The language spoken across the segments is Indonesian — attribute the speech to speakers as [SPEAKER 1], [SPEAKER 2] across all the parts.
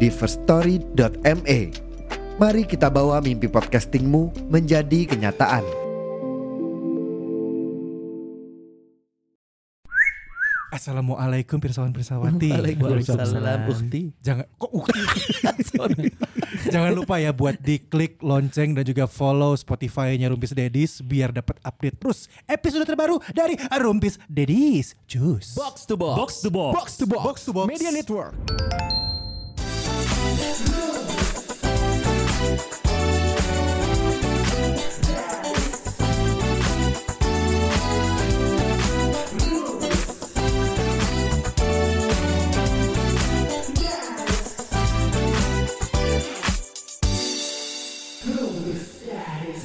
[SPEAKER 1] di firststory.me. Mari kita bawa mimpi podcastingmu menjadi kenyataan.
[SPEAKER 2] Assalamualaikum Pirsawan Pirsawati.
[SPEAKER 3] Waalaikumsalam Ukti.
[SPEAKER 2] Jangan kok ukti. Jangan lupa ya buat diklik lonceng dan juga follow Spotify-nya Rumpis Dedis biar dapat update terus episode terbaru dari Rumpis Dedis. Cus.
[SPEAKER 3] Box to box. Box to box.
[SPEAKER 2] to box. box, to box.
[SPEAKER 3] Media Network.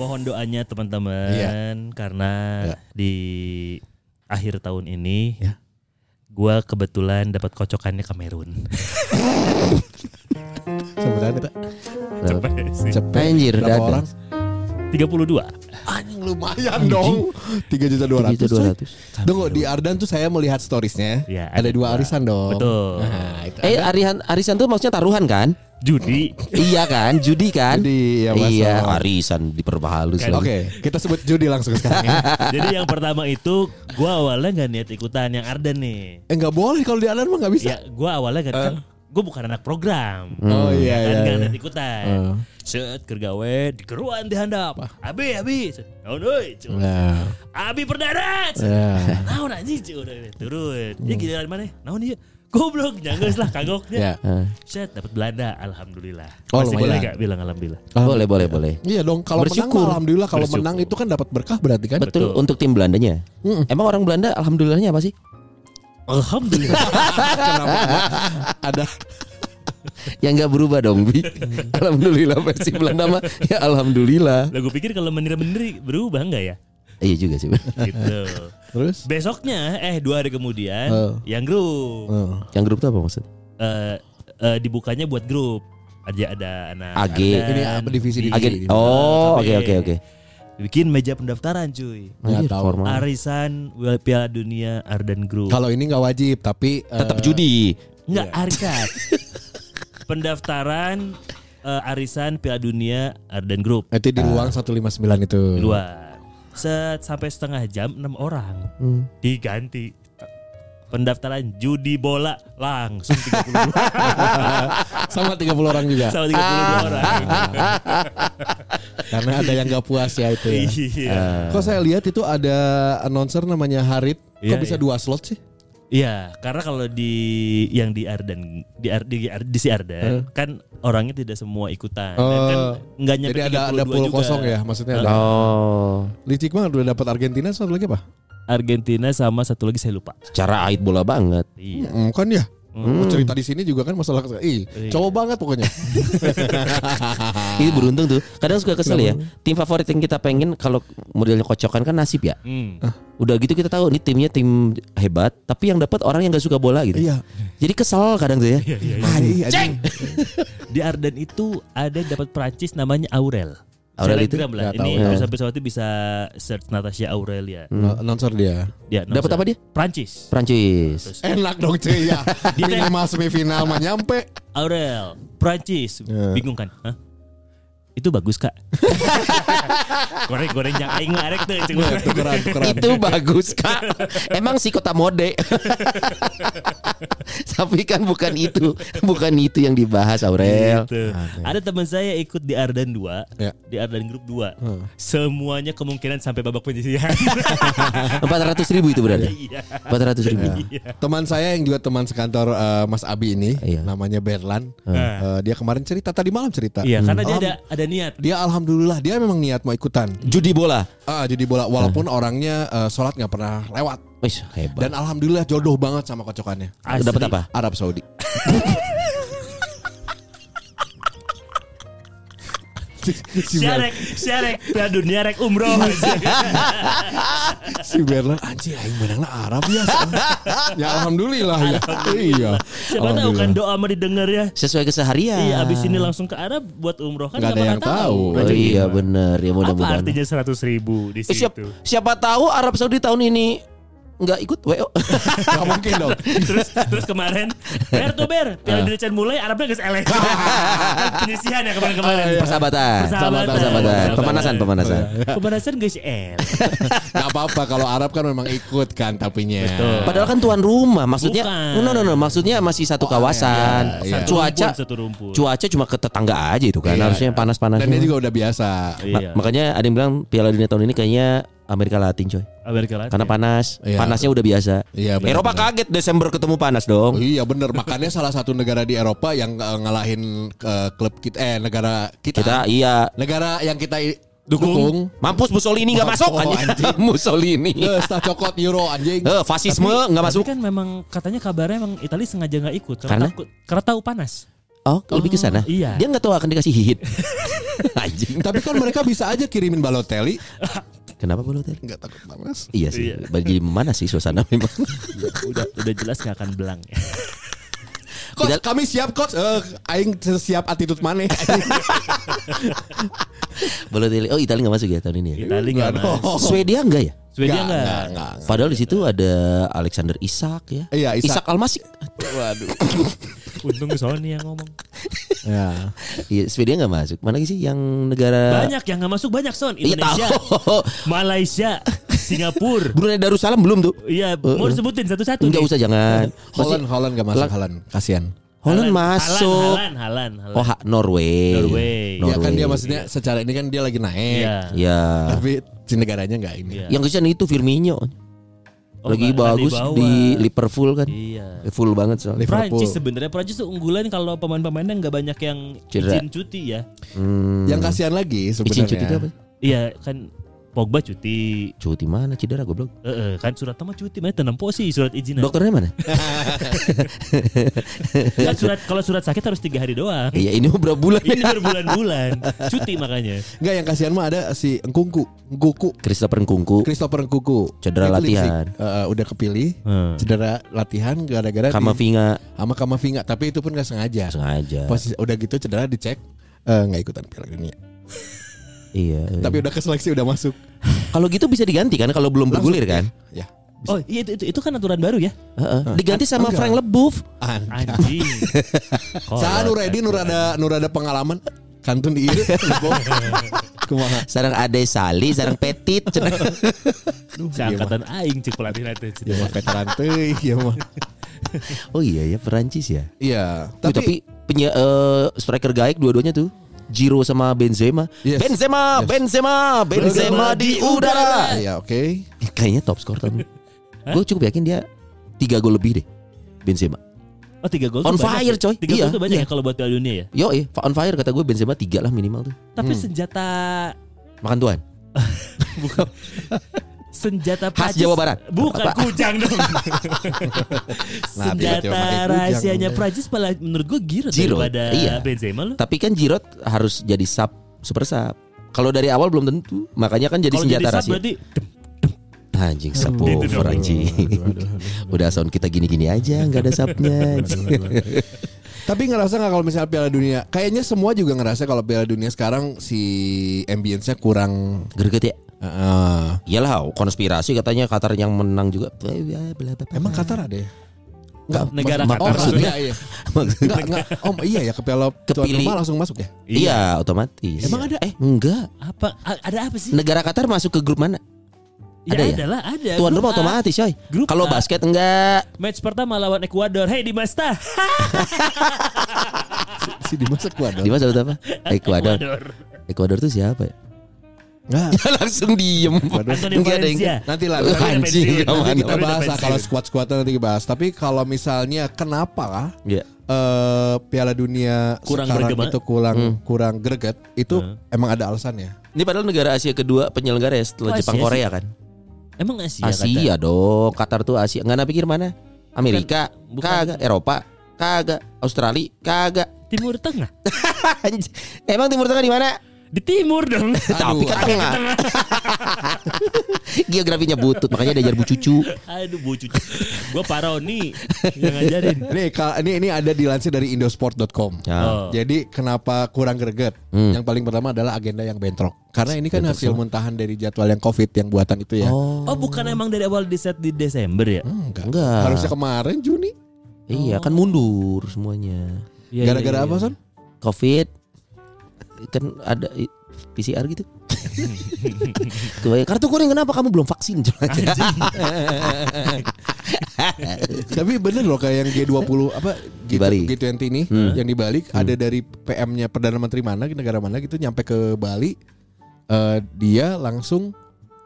[SPEAKER 3] Mohon doanya teman-teman karena di akhir tahun ini gua kebetulan dapat kocokannya Kamerun.
[SPEAKER 4] Sebenarnya
[SPEAKER 3] Cepet sih.
[SPEAKER 5] Hmm. Anjir,
[SPEAKER 4] berapa
[SPEAKER 5] dadah.
[SPEAKER 4] orang?
[SPEAKER 3] 32.
[SPEAKER 4] Anjing lumayan dong. Tiga juta dua ratus.
[SPEAKER 5] 3.200.
[SPEAKER 4] Tunggu di Ardan tuh saya melihat storiesnya.
[SPEAKER 3] Ya,
[SPEAKER 4] ada,
[SPEAKER 3] ada
[SPEAKER 4] dua
[SPEAKER 3] dua.
[SPEAKER 4] arisan dong.
[SPEAKER 3] Betul.
[SPEAKER 4] Nah, itu.
[SPEAKER 5] Eh arisan arisan tuh maksudnya taruhan kan?
[SPEAKER 3] Judi
[SPEAKER 5] iya kan, judi kan?
[SPEAKER 4] Judi, iya, Mas.
[SPEAKER 5] iya, arisan diperbahalus.
[SPEAKER 4] Oke, kita sebut judi langsung
[SPEAKER 3] Iya.
[SPEAKER 4] sekarang. ya.
[SPEAKER 3] Jadi yang pertama itu gua awalnya nggak niat ikutan yang Arden nih.
[SPEAKER 4] eh nggak boleh kalau di Ardan mah nggak bisa.
[SPEAKER 3] Ya gua awalnya nggak kan gue bukan anak program.
[SPEAKER 4] Oh
[SPEAKER 5] Hmm.
[SPEAKER 4] iya
[SPEAKER 3] kan
[SPEAKER 4] iya.
[SPEAKER 3] nggak
[SPEAKER 4] iya.
[SPEAKER 3] niat ikutan. Set kergawe digeruan dihandap. Abi abi. Set, Naon euy? Cuk.
[SPEAKER 4] Nah,
[SPEAKER 3] Abi perdana. Set,
[SPEAKER 4] ya.
[SPEAKER 3] Naon anjing cuk udah udah, turun. Ya giliran mana? Naon ieu? Goblok nyanggeus lah
[SPEAKER 4] Ya.
[SPEAKER 3] kagoknya. Set dapat Belanda alhamdulillah.
[SPEAKER 4] Oh,
[SPEAKER 3] Masih boleh
[SPEAKER 4] lumayan.
[SPEAKER 3] nggak bilang alhamdulillah?
[SPEAKER 5] Boleh, boleh, boleh.
[SPEAKER 4] Iya dong, kalau menang
[SPEAKER 5] Bersyukur.
[SPEAKER 4] mah alhamdulillah kalau
[SPEAKER 3] Bersyukur.
[SPEAKER 4] menang itu kan dapat berkah berarti kan?
[SPEAKER 3] Betul.
[SPEAKER 5] Betul, untuk tim Belandanya.
[SPEAKER 4] Mm-mm.
[SPEAKER 5] Emang orang Belanda alhamdulillahnya apa sih?
[SPEAKER 3] Alhamdulillah.
[SPEAKER 4] Ada
[SPEAKER 5] Ya nggak berubah dong, Bi. alhamdulillah versi Belanda mah ya alhamdulillah.
[SPEAKER 3] Lah gue pikir kalau meniri-meniri berubah nggak ya?
[SPEAKER 5] Iya juga sih.
[SPEAKER 3] Gitu.
[SPEAKER 4] terus?
[SPEAKER 3] Besoknya eh dua hari kemudian
[SPEAKER 4] Oh.
[SPEAKER 3] yang grup
[SPEAKER 4] Oh.
[SPEAKER 5] Yang grup tuh apa maksud?
[SPEAKER 3] eh, eh, dibukanya buat grup aja ada anak
[SPEAKER 5] AG.
[SPEAKER 3] Ardan,
[SPEAKER 4] Ini apa divisi divisi?
[SPEAKER 5] Agen. Oh, oke oke oke. Oh.
[SPEAKER 3] bikin meja pendaftaran cuy
[SPEAKER 5] Anjir,
[SPEAKER 4] tahu.
[SPEAKER 5] formal.
[SPEAKER 3] arisan Piala Dunia Arden Group
[SPEAKER 4] Kalau ini nggak wajib tapi eh,
[SPEAKER 5] Tetap judi.
[SPEAKER 3] Enggak arisan. Iya. Pendaftaran eh, arisan Piala Dunia Arden Group
[SPEAKER 4] Nanti
[SPEAKER 5] Ah.
[SPEAKER 4] di ruang 159 itu.
[SPEAKER 3] di luar. Set sampai setengah jam 6 orang.
[SPEAKER 5] Hmm.
[SPEAKER 3] Diganti. Pendaftaran judi bola langsung 32
[SPEAKER 4] Sama 30 orang juga.
[SPEAKER 3] sama
[SPEAKER 4] Ah.
[SPEAKER 3] 32 orang.
[SPEAKER 4] Karena ada yang nggak puas ya itu. Ya.
[SPEAKER 3] Iya.
[SPEAKER 4] Kok saya lihat itu ada announcer namanya Harit.
[SPEAKER 3] Iya,
[SPEAKER 4] Kok bisa
[SPEAKER 3] iya.
[SPEAKER 4] dua slot sih?
[SPEAKER 3] Iya, karena kalau di yang di Arden di Ar- di, Ar- di si Arden kan orangnya tidak semua ikutan. Dan kan
[SPEAKER 4] Hmm. Oh.
[SPEAKER 3] enggak nyampe
[SPEAKER 4] Jadi ada ada
[SPEAKER 3] 32
[SPEAKER 4] puluh
[SPEAKER 3] juga.
[SPEAKER 4] kosong ya maksudnya. Ada.
[SPEAKER 5] Oh,
[SPEAKER 4] Licik banget udah dapat Argentina satu lagi apa?
[SPEAKER 3] Argentina sama satu lagi saya lupa.
[SPEAKER 5] cara ait bola banget.
[SPEAKER 3] Iya.
[SPEAKER 4] Hmm, kan ya. Oh,
[SPEAKER 5] Mm.
[SPEAKER 4] cerita di sini juga kan masalah ih cowok banget pokoknya.
[SPEAKER 5] Ini beruntung tuh. Kadang suka kesel ya. Tim favorit yang kita pengen kalau modelnya kocokan kan nasib ya.
[SPEAKER 3] Hmm.
[SPEAKER 5] Udah gitu kita tahu nih timnya tim hebat, tapi yang dapat orang yang nggak suka bola gitu.
[SPEAKER 4] Iya.
[SPEAKER 5] Jadi kesel kadang tuh ya.
[SPEAKER 4] Iya, anjing.
[SPEAKER 3] Di Arden itu ada dapat Prancis namanya Aurel.
[SPEAKER 5] Aurel
[SPEAKER 3] Telegram
[SPEAKER 4] itu?
[SPEAKER 3] lah.
[SPEAKER 4] Nggak
[SPEAKER 3] Ini
[SPEAKER 4] tahu.
[SPEAKER 3] harus sampai suatu bisa search Natasha Aurelia.
[SPEAKER 4] No- Eh, Announcer dia.
[SPEAKER 3] Dia
[SPEAKER 5] Dapat apa dia?
[SPEAKER 3] Prancis.
[SPEAKER 5] Prancis.
[SPEAKER 4] Enak dong cuy ya.
[SPEAKER 5] Eh,
[SPEAKER 3] Di-
[SPEAKER 4] Minimal semifinal mah nyampe.
[SPEAKER 3] Aurel, Prancis.
[SPEAKER 4] Ya.
[SPEAKER 3] Bingung kan? Hah? Itu bagus kak. Goreng-goreng yang aing mah arek tuh. Gitu. cing.
[SPEAKER 4] Tukeran, tukeran.
[SPEAKER 5] Itu bagus kak. Emang si kota mode. Tapi kan bukan itu, bukan itu yang dibahas Aurel.
[SPEAKER 3] Gitu. Ada teman saya ikut di Ardan 2,
[SPEAKER 4] Ya.
[SPEAKER 3] di Ardan Group 2. Semuanya kemungkinan sampai babak penyisihan.
[SPEAKER 5] Empat ratus ribu itu berarti.
[SPEAKER 3] Iya.
[SPEAKER 5] Empat ratus ribu.
[SPEAKER 4] Teman saya yang juga teman sekantor eh, Mas Abi ini
[SPEAKER 5] Iya.
[SPEAKER 4] namanya Berlan. Eh, dia kemarin cerita tadi malam cerita.
[SPEAKER 3] Iya, karena dia
[SPEAKER 4] Alham-
[SPEAKER 3] ada ada niat.
[SPEAKER 4] dia alhamdulillah dia memang niat mau ikutan.
[SPEAKER 5] Judi bola.
[SPEAKER 4] Ah, jadi bola walaupun orangnya eh, sholat nggak pernah lewat.
[SPEAKER 5] Wih hebat.
[SPEAKER 4] Dan alhamdulillah jodoh banget sama kocokannya.
[SPEAKER 3] Asli.
[SPEAKER 5] Dapat apa?
[SPEAKER 4] Arab Saudi. si Berlan,
[SPEAKER 3] Syarek, syarek, Piala Dunia rek umroh.
[SPEAKER 4] si Berlan anjing aing menang lah Arab ya. ya alhamdulillah ya. Iya.
[SPEAKER 3] Siapa tahu kan doa mah didengar ya.
[SPEAKER 5] Sesuai keseharian.
[SPEAKER 3] Iya, abis ini langsung ke Arab buat umroh kan
[SPEAKER 4] Nggak ada
[SPEAKER 3] pernah
[SPEAKER 4] yang tahu.
[SPEAKER 5] Oh, iya benar ya
[SPEAKER 3] Apa
[SPEAKER 5] mudah-mudahan.
[SPEAKER 3] artinya gitu? seratus ribu di
[SPEAKER 5] Eh,
[SPEAKER 3] situ?
[SPEAKER 5] siap- siapa tahu Arab Saudi tahun ini nggak ikut
[SPEAKER 3] Iya.
[SPEAKER 5] WO.
[SPEAKER 4] Enggak mungkin dong.
[SPEAKER 3] terus terus kemarin ber tuh ber
[SPEAKER 5] Ah.
[SPEAKER 3] Piala Dunia Chan mulai Arabnya geus eleh penyisihan ya
[SPEAKER 5] Ah,
[SPEAKER 3] kemarin-kemarin
[SPEAKER 5] Persahabatan.
[SPEAKER 3] Persahabatan.
[SPEAKER 5] Persahabatan. iya. Pemanasan, Ah, pemanasan.
[SPEAKER 4] Iya.
[SPEAKER 3] pemanasan guys eleh
[SPEAKER 4] Enggak Nah, apa-apa kalau Arab kan memang ikut kan tapinya.
[SPEAKER 3] Betul.
[SPEAKER 5] Padahal kan tuan rumah, maksudnya
[SPEAKER 3] Bukan.
[SPEAKER 5] no no no, maksudnya masih satu kawasan.
[SPEAKER 4] Oh, iya, iya.
[SPEAKER 3] Satu
[SPEAKER 5] Cuaca
[SPEAKER 3] rumpun, satu rumpun.
[SPEAKER 5] cuaca cuma ke tetangga aja itu kan.
[SPEAKER 4] Iya,
[SPEAKER 5] Harusnya
[SPEAKER 4] iya.
[SPEAKER 5] panas-panas.
[SPEAKER 4] Dan dia juga udah biasa.
[SPEAKER 5] Ma-
[SPEAKER 3] Iya.
[SPEAKER 5] Makanya ada yang bilang Piala Dunia tahun ini kayaknya Amerika Latin coy.
[SPEAKER 3] Amerika Latin.
[SPEAKER 5] Karena panas,
[SPEAKER 4] Iya.
[SPEAKER 5] panasnya udah biasa.
[SPEAKER 4] Iya, benar,
[SPEAKER 5] Eropa
[SPEAKER 4] benar.
[SPEAKER 5] kaget Desember ketemu panas dong.
[SPEAKER 4] Oh iya bener makanya salah satu negara di Eropa yang eh, ngalahin eh, klub kita eh negara kita,
[SPEAKER 5] Kita iya
[SPEAKER 4] negara yang kita i- dukung,
[SPEAKER 5] mampus Mussolini nggak masuk
[SPEAKER 4] Oh,
[SPEAKER 5] anjing.
[SPEAKER 4] anjing.
[SPEAKER 5] Mussolini.
[SPEAKER 4] Eh, setelah cokot Euro anjing.
[SPEAKER 5] Eh, fasisme nggak
[SPEAKER 3] Tapi
[SPEAKER 5] masuk.
[SPEAKER 3] kan memang katanya kabarnya emang Italia sengaja nggak ikut
[SPEAKER 5] Karena?
[SPEAKER 3] karena takut- karena tahu panas.
[SPEAKER 5] Oh, lebih ke sana.
[SPEAKER 3] iya.
[SPEAKER 5] Dia nggak tahu akan dikasih hit. Anjing.
[SPEAKER 4] Tapi kan mereka bisa aja kirimin Balotelli.
[SPEAKER 5] Kenapa bulu tadi?
[SPEAKER 4] Enggak takut panas.
[SPEAKER 5] Iya sih. Bagi mana sih suasana memang?
[SPEAKER 3] udah udah jelas nggak akan belang. ya.
[SPEAKER 4] Coach,
[SPEAKER 5] Tidak-
[SPEAKER 4] kami siap coach. Eh, aing siap attitude maneh.
[SPEAKER 5] bulu tadi. Oh, Italia nggak masuk ya tahun ini ya.
[SPEAKER 3] Italia nggak
[SPEAKER 4] dong.
[SPEAKER 3] mas.
[SPEAKER 5] Swedia enggak ya?
[SPEAKER 3] Swedia
[SPEAKER 4] Nggak,
[SPEAKER 3] nggak.
[SPEAKER 4] nggak, nggak.
[SPEAKER 5] Padahal di situ ada Alexander Isak ya.
[SPEAKER 4] Iya, Isak.
[SPEAKER 5] Isak Almasik.
[SPEAKER 4] Waduh.
[SPEAKER 3] Untung Sony yang ngomong.
[SPEAKER 4] ya.
[SPEAKER 5] Iya, Swedia nggak masuk. Mana lagi sih yang negara
[SPEAKER 3] Banyak yang nggak masuk banyak son.
[SPEAKER 5] Eh. Iya
[SPEAKER 3] Indonesia,
[SPEAKER 5] tahu.
[SPEAKER 3] Malaysia, Singapura.
[SPEAKER 5] Brunei Darussalam belum tuh.
[SPEAKER 3] Iya, mau disebutin satu-satu.
[SPEAKER 5] Enggak
[SPEAKER 3] nih.
[SPEAKER 5] Eh, usah jangan.
[SPEAKER 4] Holland Holland gak masuk
[SPEAKER 5] Lang-
[SPEAKER 4] Holland. Kasihan.
[SPEAKER 5] Holland
[SPEAKER 3] Haaland,
[SPEAKER 5] masuk.
[SPEAKER 3] Haaland, Haaland, Haaland.
[SPEAKER 5] Oh, ha- Norway.
[SPEAKER 3] Norway.
[SPEAKER 4] Ya kan dia
[SPEAKER 5] Norway.
[SPEAKER 4] maksudnya secara ini kan dia lagi naik.
[SPEAKER 3] Iya.
[SPEAKER 5] Iya.
[SPEAKER 4] Tapi si negaranya nggak ini.
[SPEAKER 3] Iya.
[SPEAKER 5] Yang kesian itu
[SPEAKER 3] Oh,
[SPEAKER 5] Firmino. Lagi
[SPEAKER 3] nggak- nggak
[SPEAKER 5] bagus
[SPEAKER 3] dibawa.
[SPEAKER 5] di Liverpool kan.
[SPEAKER 3] Iya.
[SPEAKER 5] Full banget soalnya.
[SPEAKER 4] Liverpool.
[SPEAKER 3] Prancis sebenarnya Prancis tuh unggulan kalau pemain-pemainnya nggak banyak yang
[SPEAKER 5] Cedera.
[SPEAKER 3] izin cuti ya.
[SPEAKER 5] Hmm.
[SPEAKER 4] Yang kasihan lagi
[SPEAKER 5] Izin cuti itu
[SPEAKER 4] sebenarnya.
[SPEAKER 5] apa?
[SPEAKER 3] Iya kan Pogba cuti,
[SPEAKER 5] Cuti mana cedera goblok?
[SPEAKER 3] Eh, eh, kan surat mah cuti, mana tenempo sih surat izin.
[SPEAKER 5] Dokternya mana?
[SPEAKER 3] Kan surat kalau surat sakit harus tiga hari doang.
[SPEAKER 5] Iya ini berapa bulan?
[SPEAKER 3] Ini berbulan-bulan cuti makanya.
[SPEAKER 4] Enggak yang kasihan mah ada si Engkungku, Engkuku,
[SPEAKER 5] Christopher Nkunku
[SPEAKER 4] Christopher Engkuku.
[SPEAKER 5] Cedera
[SPEAKER 4] Di Leipzig.
[SPEAKER 5] latihan. Hmm.
[SPEAKER 4] Eh, udah kepilih. Cedera latihan gara-gara
[SPEAKER 5] Eh,
[SPEAKER 4] di-
[SPEAKER 5] Kamavinga
[SPEAKER 4] sama Kamavinga, tapi itu pun nggak sengaja.
[SPEAKER 5] eh, sengaja.
[SPEAKER 4] Pas udah gitu cedera dicek eh, nggak ikutan Piala Dunia.
[SPEAKER 5] Iya.
[SPEAKER 4] Tapi udah ke seleksi udah masuk.
[SPEAKER 5] Kalau gitu bisa diganti kan kalau belum bergulir kan?
[SPEAKER 4] Ya.
[SPEAKER 3] Oh iya itu, itu, itu kan aturan baru ya.
[SPEAKER 5] Heeh. Diganti sama
[SPEAKER 4] Enggak.
[SPEAKER 5] Frank Leboeuf.
[SPEAKER 4] An.
[SPEAKER 3] Anjing. gitu,
[SPEAKER 4] Saya nur ready nur ada nur ada pengalaman kantun di ieu. Kumaha?
[SPEAKER 5] Sarang Ade Sali, sarang Petit. cenah.
[SPEAKER 3] Seangkatan aing cek pelatih nanti.
[SPEAKER 5] Iya.
[SPEAKER 4] Ya mah veteran teuing ya mah.
[SPEAKER 5] Oh iya ya Perancis ya.
[SPEAKER 4] Iya,
[SPEAKER 5] Tapi,
[SPEAKER 4] tapi
[SPEAKER 5] tapi penya, eh, striker gaik dua-duanya tuh. Giro sama Benzema.
[SPEAKER 4] Yes.
[SPEAKER 5] Benzema,
[SPEAKER 4] Yes.
[SPEAKER 5] Benzema, Benzema di udara.
[SPEAKER 4] ya oke.
[SPEAKER 5] Eh, Kayaknya top skor tahun Gue cukup yakin dia tiga gol lebih deh. Benzema.
[SPEAKER 3] Oh tiga gol.
[SPEAKER 5] On
[SPEAKER 3] tuh banyak
[SPEAKER 5] fire,
[SPEAKER 3] ya.
[SPEAKER 5] coy.
[SPEAKER 3] Tiga
[SPEAKER 5] Iya,
[SPEAKER 3] gol tuh banyak
[SPEAKER 5] iya.
[SPEAKER 3] ya kalau buat Piala Dunia ya.
[SPEAKER 5] Yo, eh, on fire kata gue Benzema tiga lah minimal tuh.
[SPEAKER 3] Tapi senjata
[SPEAKER 5] Makan tuan.
[SPEAKER 3] bukan senjata
[SPEAKER 5] Khas
[SPEAKER 3] Prancis-
[SPEAKER 5] Jawa Barat.
[SPEAKER 3] Bukan
[SPEAKER 5] Apa?
[SPEAKER 3] kujang dong.
[SPEAKER 4] Nah, tiba-tiba
[SPEAKER 3] senjata
[SPEAKER 4] pakai kujang.
[SPEAKER 3] rahasianya Prancis malah menurut gue giro
[SPEAKER 5] Giroud,
[SPEAKER 3] daripada
[SPEAKER 5] iya.
[SPEAKER 3] Benzema lu.
[SPEAKER 5] Tapi kan Giroud harus jadi sub super sub. Kalau dari awal belum tentu, makanya kan jadi
[SPEAKER 3] Kalau
[SPEAKER 5] senjata
[SPEAKER 3] sub
[SPEAKER 5] rahasia.
[SPEAKER 3] berarti
[SPEAKER 5] Anjing sapu
[SPEAKER 3] Gitu dong.
[SPEAKER 5] anjing. Udah sound kita gini-gini aja, nggak ada sapnya.
[SPEAKER 4] Tapi ngerasa nggak kalau misalnya Piala Dunia? Kayaknya semua juga ngerasa kalau Piala Dunia sekarang si ambience-nya kurang eh,
[SPEAKER 5] Greget ya.
[SPEAKER 4] Heeh.
[SPEAKER 5] Iyalah, konspirasi katanya Qatar yang menang juga. Bla, bla, bla, bla, bla.
[SPEAKER 4] Emang Qatar ada ya? Enggak,
[SPEAKER 3] Negara
[SPEAKER 4] mak-
[SPEAKER 3] Qatar.
[SPEAKER 4] Oh, maksudnya
[SPEAKER 5] Maksudnya-
[SPEAKER 4] iya.
[SPEAKER 5] Maksud-
[SPEAKER 4] Enggak, enggak. Om, iya ya ke Piala tuan
[SPEAKER 5] Kepilih.
[SPEAKER 4] rumah langsung masuk ya?
[SPEAKER 5] Iya, otomatis.
[SPEAKER 4] Emang ada?
[SPEAKER 5] Eh, enggak.
[SPEAKER 3] apa a- ada apa sih?
[SPEAKER 5] Negara Qatar masuk ke grup mana?
[SPEAKER 3] Ya
[SPEAKER 5] Ada
[SPEAKER 3] ada,
[SPEAKER 5] ya?
[SPEAKER 3] lah ada.
[SPEAKER 5] Tuan
[SPEAKER 3] Grup A.
[SPEAKER 5] rumah otomatis, coy.
[SPEAKER 3] Grup
[SPEAKER 5] Kalau
[SPEAKER 3] A.
[SPEAKER 5] basket enggak.
[SPEAKER 3] Match pertama lawan Ekuador. Hey di Masta.
[SPEAKER 4] Si Dimas Ekuador.
[SPEAKER 5] Di mana sebut apa? Ekuador. Ekuador tuh siapa ya?
[SPEAKER 4] Nah,
[SPEAKER 5] Langsung diem.
[SPEAKER 3] Anthony
[SPEAKER 5] Enggak ada yang-
[SPEAKER 3] Valencia.
[SPEAKER 4] nanti lah.
[SPEAKER 5] Lu
[SPEAKER 4] Nanti,
[SPEAKER 5] anjing,
[SPEAKER 3] pensiun.
[SPEAKER 5] kamu
[SPEAKER 4] nanti
[SPEAKER 5] aneh.
[SPEAKER 3] Tapi
[SPEAKER 4] kita
[SPEAKER 3] udah
[SPEAKER 4] bahas lah
[SPEAKER 3] pensiun.
[SPEAKER 4] kalau squad-squadnya nanti dibahas. Tapi kalau misalnya kenapa lah
[SPEAKER 5] Iya.
[SPEAKER 4] eh, Piala Dunia
[SPEAKER 3] Kurang Hmm.
[SPEAKER 4] sekarang
[SPEAKER 3] bergema.
[SPEAKER 4] itu kurang kurang greget itu
[SPEAKER 3] Iya.
[SPEAKER 4] emang ada alasannya.
[SPEAKER 5] Ini padahal negara Asia kedua penyelenggara ya
[SPEAKER 3] Oh,
[SPEAKER 5] setelah
[SPEAKER 3] Asia
[SPEAKER 5] Jepang
[SPEAKER 3] Iya,
[SPEAKER 5] Korea kan.
[SPEAKER 3] Emang Asia,
[SPEAKER 5] Asia iya dong, Qatar tuh Asia. Enggak ada pikir mana? Amerika,
[SPEAKER 3] bukan.
[SPEAKER 5] kagak Eropa, kagak Australia, kagak.
[SPEAKER 3] kata. Timur Tengah.
[SPEAKER 5] Emang Timur Tengah di mana?
[SPEAKER 3] Di timur dong.
[SPEAKER 5] Tapi kan tengah. Geografinya butut, makanya diajar bu cucu.
[SPEAKER 3] Aduh bu cucu. Gue paroni yang ngajarin.
[SPEAKER 4] Nih, kal- ini ini ada dilansir dari indosport.com.
[SPEAKER 5] Ya.
[SPEAKER 3] Oh.
[SPEAKER 4] Jadi kenapa kurang greget?
[SPEAKER 3] Hmm.
[SPEAKER 4] Yang paling pertama adalah agenda yang bentrok. Karena ini kan hasil muntahan dari jadwal yang Covid yang buatan itu ya.
[SPEAKER 3] Oh bukan emang dari awal di set di Desember ya?
[SPEAKER 4] Hmm, enggak.
[SPEAKER 5] Oh, Enggak.
[SPEAKER 4] Harusnya kemarin Juni.
[SPEAKER 5] Iya, kan mundur semuanya.
[SPEAKER 3] Iya,
[SPEAKER 4] Gara-gara
[SPEAKER 3] iya,
[SPEAKER 4] apa,
[SPEAKER 3] iya.
[SPEAKER 4] Son?
[SPEAKER 5] Covid kan ada i- PCR gitu. Kebayang, Kartu kuning kenapa kamu belum vaksin?
[SPEAKER 4] Tapi bener loh kayak yang G20 apa
[SPEAKER 5] Di Bali.
[SPEAKER 4] G20 ini yang di Bali ada dari PM-nya Perdana Menteri mana negara mana gitu nyampe ke Bali eh, dia langsung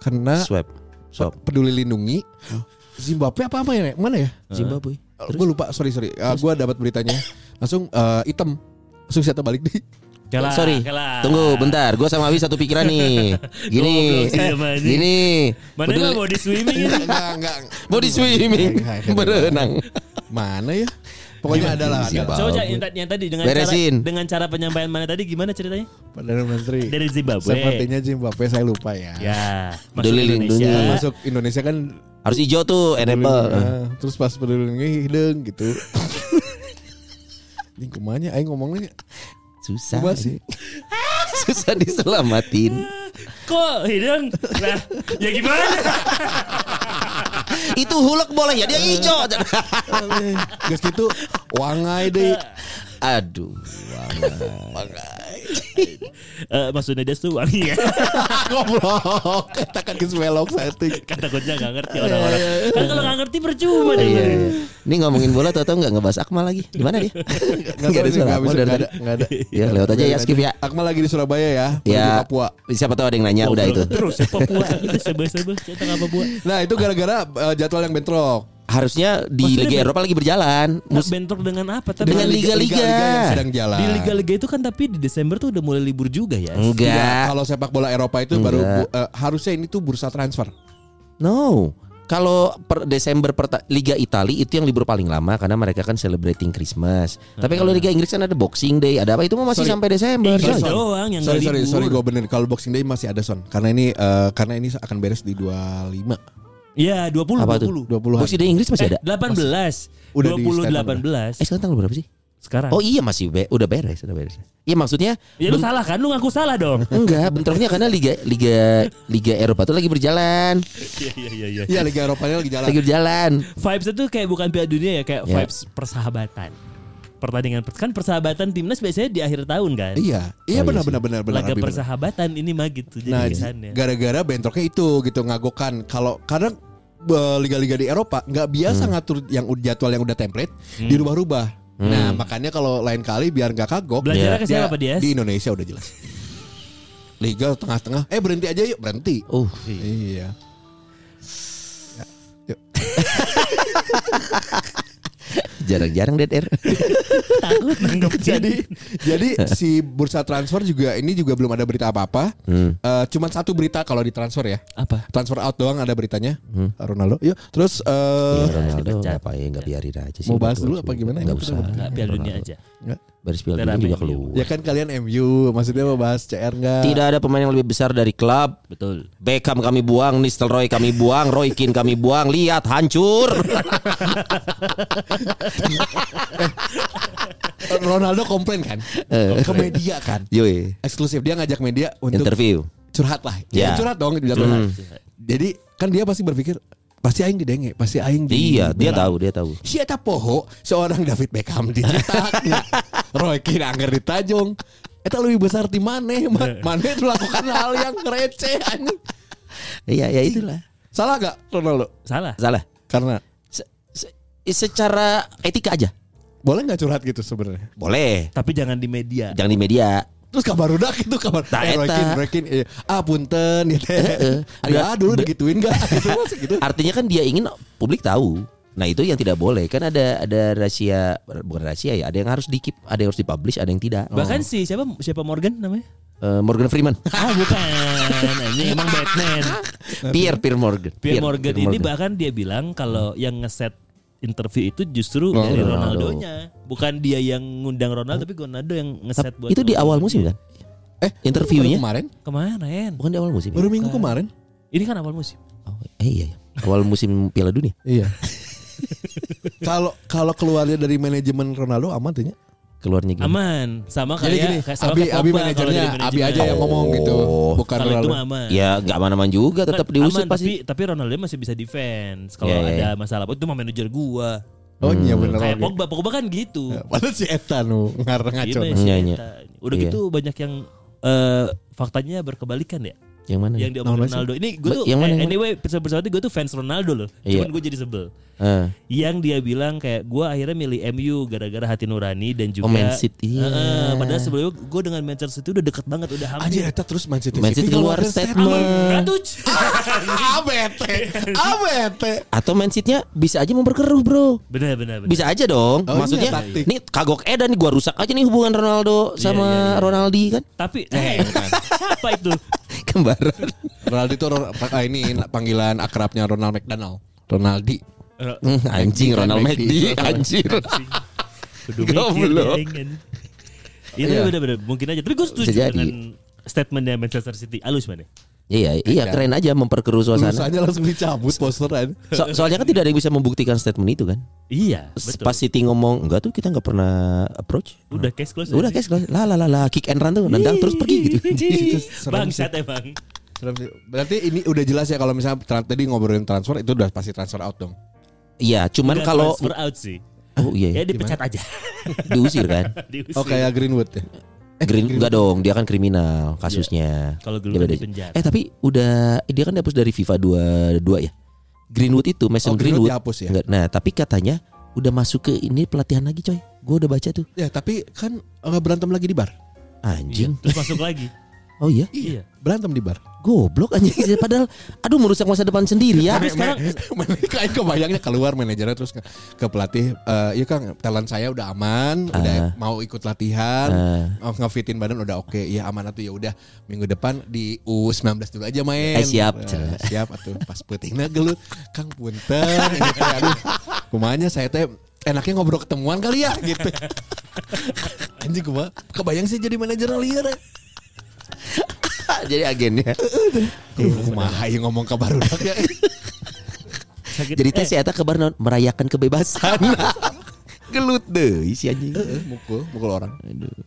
[SPEAKER 4] kena
[SPEAKER 5] Swab. Swab.
[SPEAKER 4] peduli lindungi Zimbabwe apa apa ya Nek? mana ya
[SPEAKER 5] Zimbabwe.
[SPEAKER 4] gue lupa sorry sorry Eh, gue dapat beritanya langsung eh, item langsung siapa balik di
[SPEAKER 3] Kalah,
[SPEAKER 5] Sorry.
[SPEAKER 3] kalah.
[SPEAKER 5] Tunggu bentar, gue sama Abi satu pikiran nih. Gini.
[SPEAKER 3] Goblok sih sama ini.
[SPEAKER 5] Gini.
[SPEAKER 3] Mana
[SPEAKER 5] Peduli-
[SPEAKER 3] emang mau di swimming ya?
[SPEAKER 4] enggak enggak
[SPEAKER 5] Body swimming Berenang
[SPEAKER 4] mana ya pokoknya ada lah ada.
[SPEAKER 5] Zimbabwe.
[SPEAKER 3] Coba Cak, yang tadi- yang tadi dengan
[SPEAKER 5] Ah, Beresin.
[SPEAKER 3] cara dengan cara penyampaian mana tadi gimana ceritanya?
[SPEAKER 4] Perdana Menteri
[SPEAKER 3] Dari Zimbabwe.
[SPEAKER 4] sepertinya Zimbabwe saya lupa ya
[SPEAKER 3] Ya, masuk
[SPEAKER 5] Peduli
[SPEAKER 3] Indonesia.
[SPEAKER 5] lindungi.
[SPEAKER 4] masuk Indonesia kan
[SPEAKER 5] Harus hijau tuh Enable Eh,
[SPEAKER 4] Nah, terus pas peduli lindungi hidung gitu. Ini kemana? Aing ngomongnya
[SPEAKER 5] Susah
[SPEAKER 4] coba sih.
[SPEAKER 5] Susah diselamatin
[SPEAKER 3] Kok hidung? Nah, ya gimana?
[SPEAKER 5] Itu hulek boleh ya Dia hijau
[SPEAKER 4] Gas gitu wangai deh.
[SPEAKER 5] Aduh
[SPEAKER 3] Eh, maksudnya dia tuh wangi ya.
[SPEAKER 4] Goblok. Katakan ke belok setting.
[SPEAKER 3] Kan takutnya nggak ngerti orang-orang. Kan kalau nggak ngerti percuma dong.
[SPEAKER 5] Iya, iya. Ini ngomongin bola tau tau nggak ngebahas Akmal lagi di mana dia?
[SPEAKER 4] Enggak
[SPEAKER 5] Nggak ada suara
[SPEAKER 4] enggak
[SPEAKER 5] Akmal
[SPEAKER 4] bisa
[SPEAKER 5] dari
[SPEAKER 4] enggak ada,
[SPEAKER 5] tadi.
[SPEAKER 4] enggak ada.
[SPEAKER 5] Ya lewat aja ya skip ya.
[SPEAKER 4] Akmal lagi di Surabaya ya, menuju
[SPEAKER 5] Ya.
[SPEAKER 4] Papua.
[SPEAKER 5] Siapa tahu ada yang nanya udah itu.
[SPEAKER 3] Terus ya Papua itu sebe-sebe cerita nggak Papua.
[SPEAKER 4] Nah, itu gara-gara eh, jadwal yang bentrok.
[SPEAKER 5] Harusnya di
[SPEAKER 3] Maksudnya
[SPEAKER 5] Liga
[SPEAKER 3] ben-
[SPEAKER 5] Eropa lagi berjalan.
[SPEAKER 3] Nah,
[SPEAKER 5] Mus-
[SPEAKER 3] bentrok dengan apa? Tapi kan
[SPEAKER 5] Dengan
[SPEAKER 3] di-
[SPEAKER 5] liga-liga.
[SPEAKER 4] yang sedang jalan.
[SPEAKER 3] di liga-liga itu kan tapi di Desember tuh udah mulai libur juga ya.
[SPEAKER 4] Nah. Enggak,
[SPEAKER 5] Enggak.
[SPEAKER 4] Iya, Kalau sepak bola Eropa itu baru
[SPEAKER 5] Enggak.
[SPEAKER 4] bu- eh, harusnya ini tuh bursa transfer.
[SPEAKER 5] No. Kalau per Desember perta- Liga Itali itu yang libur paling lama karena mereka kan celebrating Christmas. Tapi kalau Liga Inggris kan ada Boxing Day, ada apa itu mah masih
[SPEAKER 4] Sorry.
[SPEAKER 5] sampai Desember.
[SPEAKER 3] Hmm. Inggris
[SPEAKER 5] coy.
[SPEAKER 3] doang yang
[SPEAKER 4] sorry,
[SPEAKER 3] nggak
[SPEAKER 4] sorry,
[SPEAKER 3] libur.
[SPEAKER 4] sorry, gue bener. Kalau Boxing Day masih ada son, karena ini eh, karena ini akan beres di 25
[SPEAKER 3] Iya, 20
[SPEAKER 5] Apa
[SPEAKER 3] 20.
[SPEAKER 5] tuh?
[SPEAKER 4] 20-an.
[SPEAKER 5] Boxing Day Inggris masih
[SPEAKER 3] Eh,
[SPEAKER 5] ada.
[SPEAKER 3] 18.
[SPEAKER 4] Udah di
[SPEAKER 3] 20
[SPEAKER 4] statement
[SPEAKER 3] 18.
[SPEAKER 5] Eh sekarang tanggal berapa sih?
[SPEAKER 3] Sekarang.
[SPEAKER 5] Oh iya masih be- udah beres, udah beres. Iya maksudnya
[SPEAKER 3] ya lu
[SPEAKER 5] ben-
[SPEAKER 3] salah kan? Lu ngaku salah dong.
[SPEAKER 5] enggak bentroknya karena liga liga liga Eropa tuh lagi berjalan,
[SPEAKER 3] Iya iya iya iya.
[SPEAKER 4] Iya Liga Eropanya lagi jalan.
[SPEAKER 5] lagi berjalan.
[SPEAKER 3] Vibes itu kayak bukan Piala Dunia ya, kayak
[SPEAKER 4] Iya.
[SPEAKER 5] Ya.
[SPEAKER 3] vibes persahabatan. Pertandingan kan persahabatan timnas biasanya di akhir tahun kan.
[SPEAKER 4] Iya, iya
[SPEAKER 5] Oh, iya
[SPEAKER 4] benar
[SPEAKER 5] sih.
[SPEAKER 4] benar benar benar.
[SPEAKER 3] Laga
[SPEAKER 4] Abi, benar.
[SPEAKER 3] persahabatan ini mah gitu jadi
[SPEAKER 4] Nah,
[SPEAKER 3] kesannya.
[SPEAKER 4] gara-gara bentroknya itu gitu ngagokan. Kalau karena eh, liga-liga di Eropa nggak biasa
[SPEAKER 3] Hmm.
[SPEAKER 4] ngatur yang ud- jadwal yang udah template dirubah-rubah. Nah, makanya kalau lain kali biar nggak kagok.
[SPEAKER 3] Belajarnya ke
[SPEAKER 4] dia-
[SPEAKER 3] siapa, ya? Dias?
[SPEAKER 4] Di Indonesia udah jelas. Liga tengah-tengah. Eh berhenti aja yuk, berhenti.
[SPEAKER 5] Oh,
[SPEAKER 4] Iya. Ya, yuk.
[SPEAKER 5] jarang-jarang dead air.
[SPEAKER 3] Takut nanggep
[SPEAKER 4] jadi jadi si bursa transfer juga ini juga belum ada berita apa-apa.
[SPEAKER 5] Hmm.
[SPEAKER 4] Eh, cuman satu berita kalau di transfer ya.
[SPEAKER 3] apa?
[SPEAKER 4] Transfer out doang ada beritanya.
[SPEAKER 5] Hmm.
[SPEAKER 4] Ronaldo. Yuk, terus eh
[SPEAKER 5] Ya, Ronaldo
[SPEAKER 3] dipecat.
[SPEAKER 5] apa ya nggak biarin aja sih.
[SPEAKER 4] Mau bahas
[SPEAKER 5] Udah
[SPEAKER 4] dulu
[SPEAKER 5] tua
[SPEAKER 4] apa
[SPEAKER 5] juga.
[SPEAKER 4] gimana?
[SPEAKER 5] Nggak
[SPEAKER 4] Ini
[SPEAKER 5] usah.
[SPEAKER 4] kenapa?
[SPEAKER 3] Enggak Piala Dunia aja.
[SPEAKER 4] nggak.
[SPEAKER 5] Baris Piala
[SPEAKER 3] Piala
[SPEAKER 5] Dunia juga
[SPEAKER 3] Dunia.
[SPEAKER 5] keluar.
[SPEAKER 4] Ya kan kalian MU, maksudnya mau bahas CR nggak?
[SPEAKER 5] Iya. Tidak ada pemain yang lebih besar dari klub.
[SPEAKER 3] Betul.
[SPEAKER 5] Beckham kami buang, Nistelrooy kami buang, Roy Keane kami buang. Lihat hancur.
[SPEAKER 4] Ronaldo komplain kan
[SPEAKER 5] Eh.
[SPEAKER 4] ke media kan.
[SPEAKER 5] Yoi.
[SPEAKER 4] Eksklusif dia ngajak media untuk
[SPEAKER 5] Interview. Hmm.
[SPEAKER 4] curhat lah. Ya,
[SPEAKER 5] Ya.
[SPEAKER 4] curhat dong dibilang curhat. Jadi kan dia pasti berpikir pasti aing didenge, pasti aing di
[SPEAKER 5] Iya, dia tahu, dia tahu.
[SPEAKER 4] Si Eta Poho seorang David Beckham dicetak Roy Keane angker di Tajung Eta lebih besar di Mane Ma- Mane itu lakukan hal yang receh anjing.
[SPEAKER 5] Iya, ya itulah.
[SPEAKER 4] Salah gak Ronaldo?
[SPEAKER 3] Salah.
[SPEAKER 5] Salah.
[SPEAKER 4] Karena
[SPEAKER 5] Se- se- secara etika aja.
[SPEAKER 4] boleh gak curhat gitu sebenarnya?
[SPEAKER 5] Boleh.
[SPEAKER 3] Tapi jangan di media.
[SPEAKER 5] Jangan di media.
[SPEAKER 4] Terus kabar udah gitu kabar
[SPEAKER 5] Nah,
[SPEAKER 4] eh, Roy
[SPEAKER 5] Eta.
[SPEAKER 4] Keane, Roy Keane, iya. Ah punten gitu
[SPEAKER 5] Eh,
[SPEAKER 4] Ya dulu digituin gak gitu, masih gitu.
[SPEAKER 5] Artinya kan dia ingin publik tahu. Nah itu yang tidak boleh kan ada ada rahasia bukan rahasia ya ada yang harus dikip ada yang harus dipublish ada yang tidak.
[SPEAKER 3] Bahkan
[SPEAKER 4] Oh.
[SPEAKER 3] si siapa siapa Morgan namanya?
[SPEAKER 5] Eh, Morgan Freeman,
[SPEAKER 3] Ah bukan. Ini emang Batman.
[SPEAKER 5] Pierre Pierre Iya, Morgan.
[SPEAKER 3] Pierre Morgan ini bahkan dia bilang kalau yang ngeset interview itu justru dari
[SPEAKER 5] Ronaldo.
[SPEAKER 3] Ronaldonya, bukan dia yang ngundang Ronaldo tapi Ronaldo yang ngeset buat
[SPEAKER 5] itu di
[SPEAKER 3] Ronaldo.
[SPEAKER 5] awal musim kan?
[SPEAKER 4] Eh, baru
[SPEAKER 5] Interviewnya?
[SPEAKER 4] kemarin?
[SPEAKER 3] Kemarin.
[SPEAKER 5] Bukan di awal musim. ya?
[SPEAKER 4] Baru minggu kemarin?
[SPEAKER 3] Ini kan awal musim.
[SPEAKER 5] Oh, eh, iya, iya. Awal musim Piala Dunia.
[SPEAKER 4] Iya. Kalau kalau keluarnya dari manajemen Ronaldo aman tuh nya?
[SPEAKER 5] Keluarnya gini.
[SPEAKER 3] Aman. Sama
[SPEAKER 4] Jadi
[SPEAKER 3] kayak
[SPEAKER 4] gini,
[SPEAKER 3] kayak sama
[SPEAKER 4] Abi
[SPEAKER 3] kayak
[SPEAKER 4] Abi
[SPEAKER 3] Pogba kalau
[SPEAKER 4] manajernya,
[SPEAKER 3] jadi
[SPEAKER 4] Abi
[SPEAKER 3] manajemen.
[SPEAKER 4] aja yang ngomong gitu,
[SPEAKER 5] Oh.
[SPEAKER 4] bukan
[SPEAKER 3] Kalau itu
[SPEAKER 4] Ronaldo.
[SPEAKER 3] mah aman.
[SPEAKER 5] Ya nggak aman-aman juga, tetap
[SPEAKER 3] Aman,
[SPEAKER 5] diusut
[SPEAKER 3] Tapi,
[SPEAKER 5] pasti.
[SPEAKER 3] tapi Ronaldo masih bisa defense kalau
[SPEAKER 5] Iya, iya,
[SPEAKER 3] ada masalah. Oh, Itu mah manajer gua.
[SPEAKER 4] Oh iya
[SPEAKER 5] Hmm.
[SPEAKER 4] benar.
[SPEAKER 3] Kayak Pogba, Pogba kan gitu.
[SPEAKER 4] Padahal si Eta nu ngarang ngaco.
[SPEAKER 3] Gimana sih
[SPEAKER 5] Iya, iya.
[SPEAKER 3] kita? Udah
[SPEAKER 5] Iya.
[SPEAKER 3] gitu banyak yang eh, faktanya berkebalikan ya.
[SPEAKER 5] Yang mana?
[SPEAKER 3] Yang diomongin
[SPEAKER 4] Ronaldo sih.
[SPEAKER 3] Ronaldo. Ini gue
[SPEAKER 5] Iya. Ba-
[SPEAKER 3] tuh
[SPEAKER 5] yang mana,
[SPEAKER 3] eh,
[SPEAKER 5] yang mana?
[SPEAKER 3] anyway persoalan gue tuh fans Ronaldo loh.
[SPEAKER 5] Iya.
[SPEAKER 3] Cuman gue jadi sebel.
[SPEAKER 5] Eh,
[SPEAKER 3] Yang dia bilang kayak gue akhirnya milih MU gara-gara hati nurani dan juga
[SPEAKER 5] Oh, Man
[SPEAKER 3] Eh,
[SPEAKER 5] City.
[SPEAKER 3] eh,
[SPEAKER 5] Iya.
[SPEAKER 3] padahal sebelumnya gue dengan Manchester City udah deket banget udah
[SPEAKER 4] Anjir
[SPEAKER 3] hampir.
[SPEAKER 4] Eta terus Man City.
[SPEAKER 5] Man City keluar statement.
[SPEAKER 3] Aduh.
[SPEAKER 4] Abete, abete.
[SPEAKER 5] Atau Man City-nya bisa aja mau berkeruh, Bro.
[SPEAKER 3] Bener bener bener.
[SPEAKER 5] Bisa aja dong.
[SPEAKER 4] Oh,
[SPEAKER 5] Maksudnya
[SPEAKER 4] iya, taktik.
[SPEAKER 5] nih kagok edan nih gua rusak aja nih hubungan Ronaldo sama
[SPEAKER 3] iya, iya.
[SPEAKER 5] Ronaldi kan.
[SPEAKER 3] Tapi eh, siapa itu?
[SPEAKER 5] Kembaran.
[SPEAKER 4] Ronaldo itu Ron- ah, ini panggilan akrabnya Ronald McDonald. Ronaldi.
[SPEAKER 3] Eh,
[SPEAKER 5] Hmm, anjing Ronald McD anjir.
[SPEAKER 3] Kudu
[SPEAKER 5] Goblok.
[SPEAKER 3] mikir pengen. Itu
[SPEAKER 4] Iya.
[SPEAKER 3] bener-bener mungkin aja. Tapi gue setuju
[SPEAKER 5] Bisa jadi.
[SPEAKER 3] dengan statementnya Manchester City. Alus mana?
[SPEAKER 5] Iya, iya keren aja memperkeruh suasana.
[SPEAKER 4] Lulusannya langsung dicabut posteran.
[SPEAKER 5] So- soalnya kan tidak ada yang bisa membuktikan statement itu kan.
[SPEAKER 3] Iya,
[SPEAKER 5] Pas
[SPEAKER 3] betul.
[SPEAKER 5] Pas Siti ngomong enggak tuh kita nggak pernah approach.
[SPEAKER 3] Udah case close.
[SPEAKER 5] Udah guys, lah lah lah lah kick and run tuh nendang terus pergi gitu.
[SPEAKER 4] Itu serem
[SPEAKER 3] Bangsat emang.
[SPEAKER 5] Kan
[SPEAKER 4] Serem sih. Berarti ini udah jelas ya kalau misalnya tra- tadi ngobrolin transfer itu udah pasti transfer out dong.
[SPEAKER 5] Iya,
[SPEAKER 3] Udah
[SPEAKER 5] cuman kalau
[SPEAKER 3] transfer out sih.
[SPEAKER 5] oh
[SPEAKER 3] Ya
[SPEAKER 5] iya, iya.
[SPEAKER 3] dipecat aja.
[SPEAKER 5] diusir kan.
[SPEAKER 3] Diusir.
[SPEAKER 4] Oh kayak Greenwood ya.
[SPEAKER 5] Green enggak dong, dia kan kriminal kasusnya.
[SPEAKER 3] Kalau kan Greenwood
[SPEAKER 5] Dia
[SPEAKER 3] Iya.
[SPEAKER 5] beda-
[SPEAKER 3] di penjara.
[SPEAKER 5] Eh tapi udah dia kan dihapus dari FIFA 22 ya. Greenwood itu
[SPEAKER 4] Oh,
[SPEAKER 5] Mason
[SPEAKER 4] Greenwood
[SPEAKER 5] Greenwood.
[SPEAKER 4] dihapus ya?
[SPEAKER 5] Enggak. Nah, tapi katanya udah masuk ke ini pelatihan lagi coy. Gue udah baca tuh.
[SPEAKER 4] Ya tapi kan nggak berantem lagi di bar.
[SPEAKER 3] Iya,
[SPEAKER 5] Anjing.
[SPEAKER 3] Terus masuk lagi.
[SPEAKER 5] Oh iya.
[SPEAKER 3] Iya.
[SPEAKER 4] Berantem di bar.
[SPEAKER 5] Goblok anjing padahal aduh merusak masa depan sendiri ya.
[SPEAKER 3] Tapi sekarang
[SPEAKER 4] Mereka kebayangnya keluar manajernya terus ke, ke pelatih. Eh, iya kang, talent saya udah aman, udah
[SPEAKER 5] Ah.
[SPEAKER 4] mau ikut latihan, oh, ngefitin badan udah oke. Iya aman atuh ya udah. Minggu depan di U19 dulu aja main.
[SPEAKER 5] Eh, siap.
[SPEAKER 4] Eh, siap atuh. Pas peutingna gelut, Kang punten. Gitu, aduh, kumanya saya teh enaknya ngobrol ketemuan kali ya gitu. Anjing gua kebayang sih jadi manajer liar. ya.
[SPEAKER 5] Jadi agennya. Iya,
[SPEAKER 4] Kumaha yang ngomong kabar udah
[SPEAKER 3] sakit.
[SPEAKER 5] Jadi teh
[SPEAKER 3] Eh,
[SPEAKER 5] si eta kabar naon? merayakan kebebasan. Gelut deh si anjing. Iya.
[SPEAKER 4] mukul, mukul orang.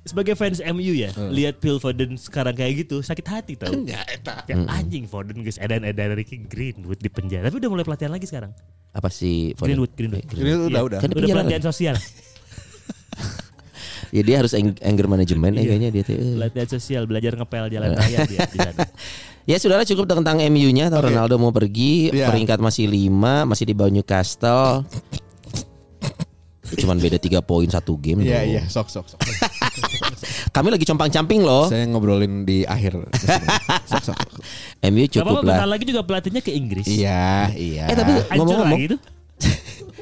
[SPEAKER 3] sebagai fans MU ya, lihat Phil Foden sekarang kayak gitu sakit hati tau. Kayak anjing Foden guys, edan edan Ricky Greenwood di penjara. Tapi udah mulai pelatihan lagi sekarang.
[SPEAKER 5] Apa sih? Foden?
[SPEAKER 3] Greenwood, Greenwood.
[SPEAKER 4] Ini
[SPEAKER 3] Iya.
[SPEAKER 4] udah udah.
[SPEAKER 5] Kan di
[SPEAKER 3] Udah
[SPEAKER 5] penjara
[SPEAKER 3] pelatihan sosial.
[SPEAKER 5] Ya dia harus ang- anger management eh,
[SPEAKER 3] Iya.
[SPEAKER 5] kayaknya dia teh. eh.
[SPEAKER 3] Pelatihan sosial, belajar ngepel jalan raya dia di sana.
[SPEAKER 5] Ya saudara cukup tentang MU-nya Ronaldo mau pergi
[SPEAKER 4] Iya.
[SPEAKER 5] Peringkat masih 5 Masih di bawah Newcastle Cuman beda 3 poin satu game
[SPEAKER 4] Iya
[SPEAKER 5] loh.
[SPEAKER 4] iya, sok sok sok.
[SPEAKER 5] Kami lagi compang-camping loh
[SPEAKER 4] Saya ngobrolin di akhir. sok sok. sok.
[SPEAKER 5] MU
[SPEAKER 3] Gak apa-apa,
[SPEAKER 5] cukup
[SPEAKER 3] bentar
[SPEAKER 5] lah
[SPEAKER 3] lagi juga pelatihnya ke Inggris.
[SPEAKER 4] Iya iya.
[SPEAKER 5] Eh tapi
[SPEAKER 3] Hancur
[SPEAKER 5] ngomong-ngomong
[SPEAKER 3] lagi gitu. tuh.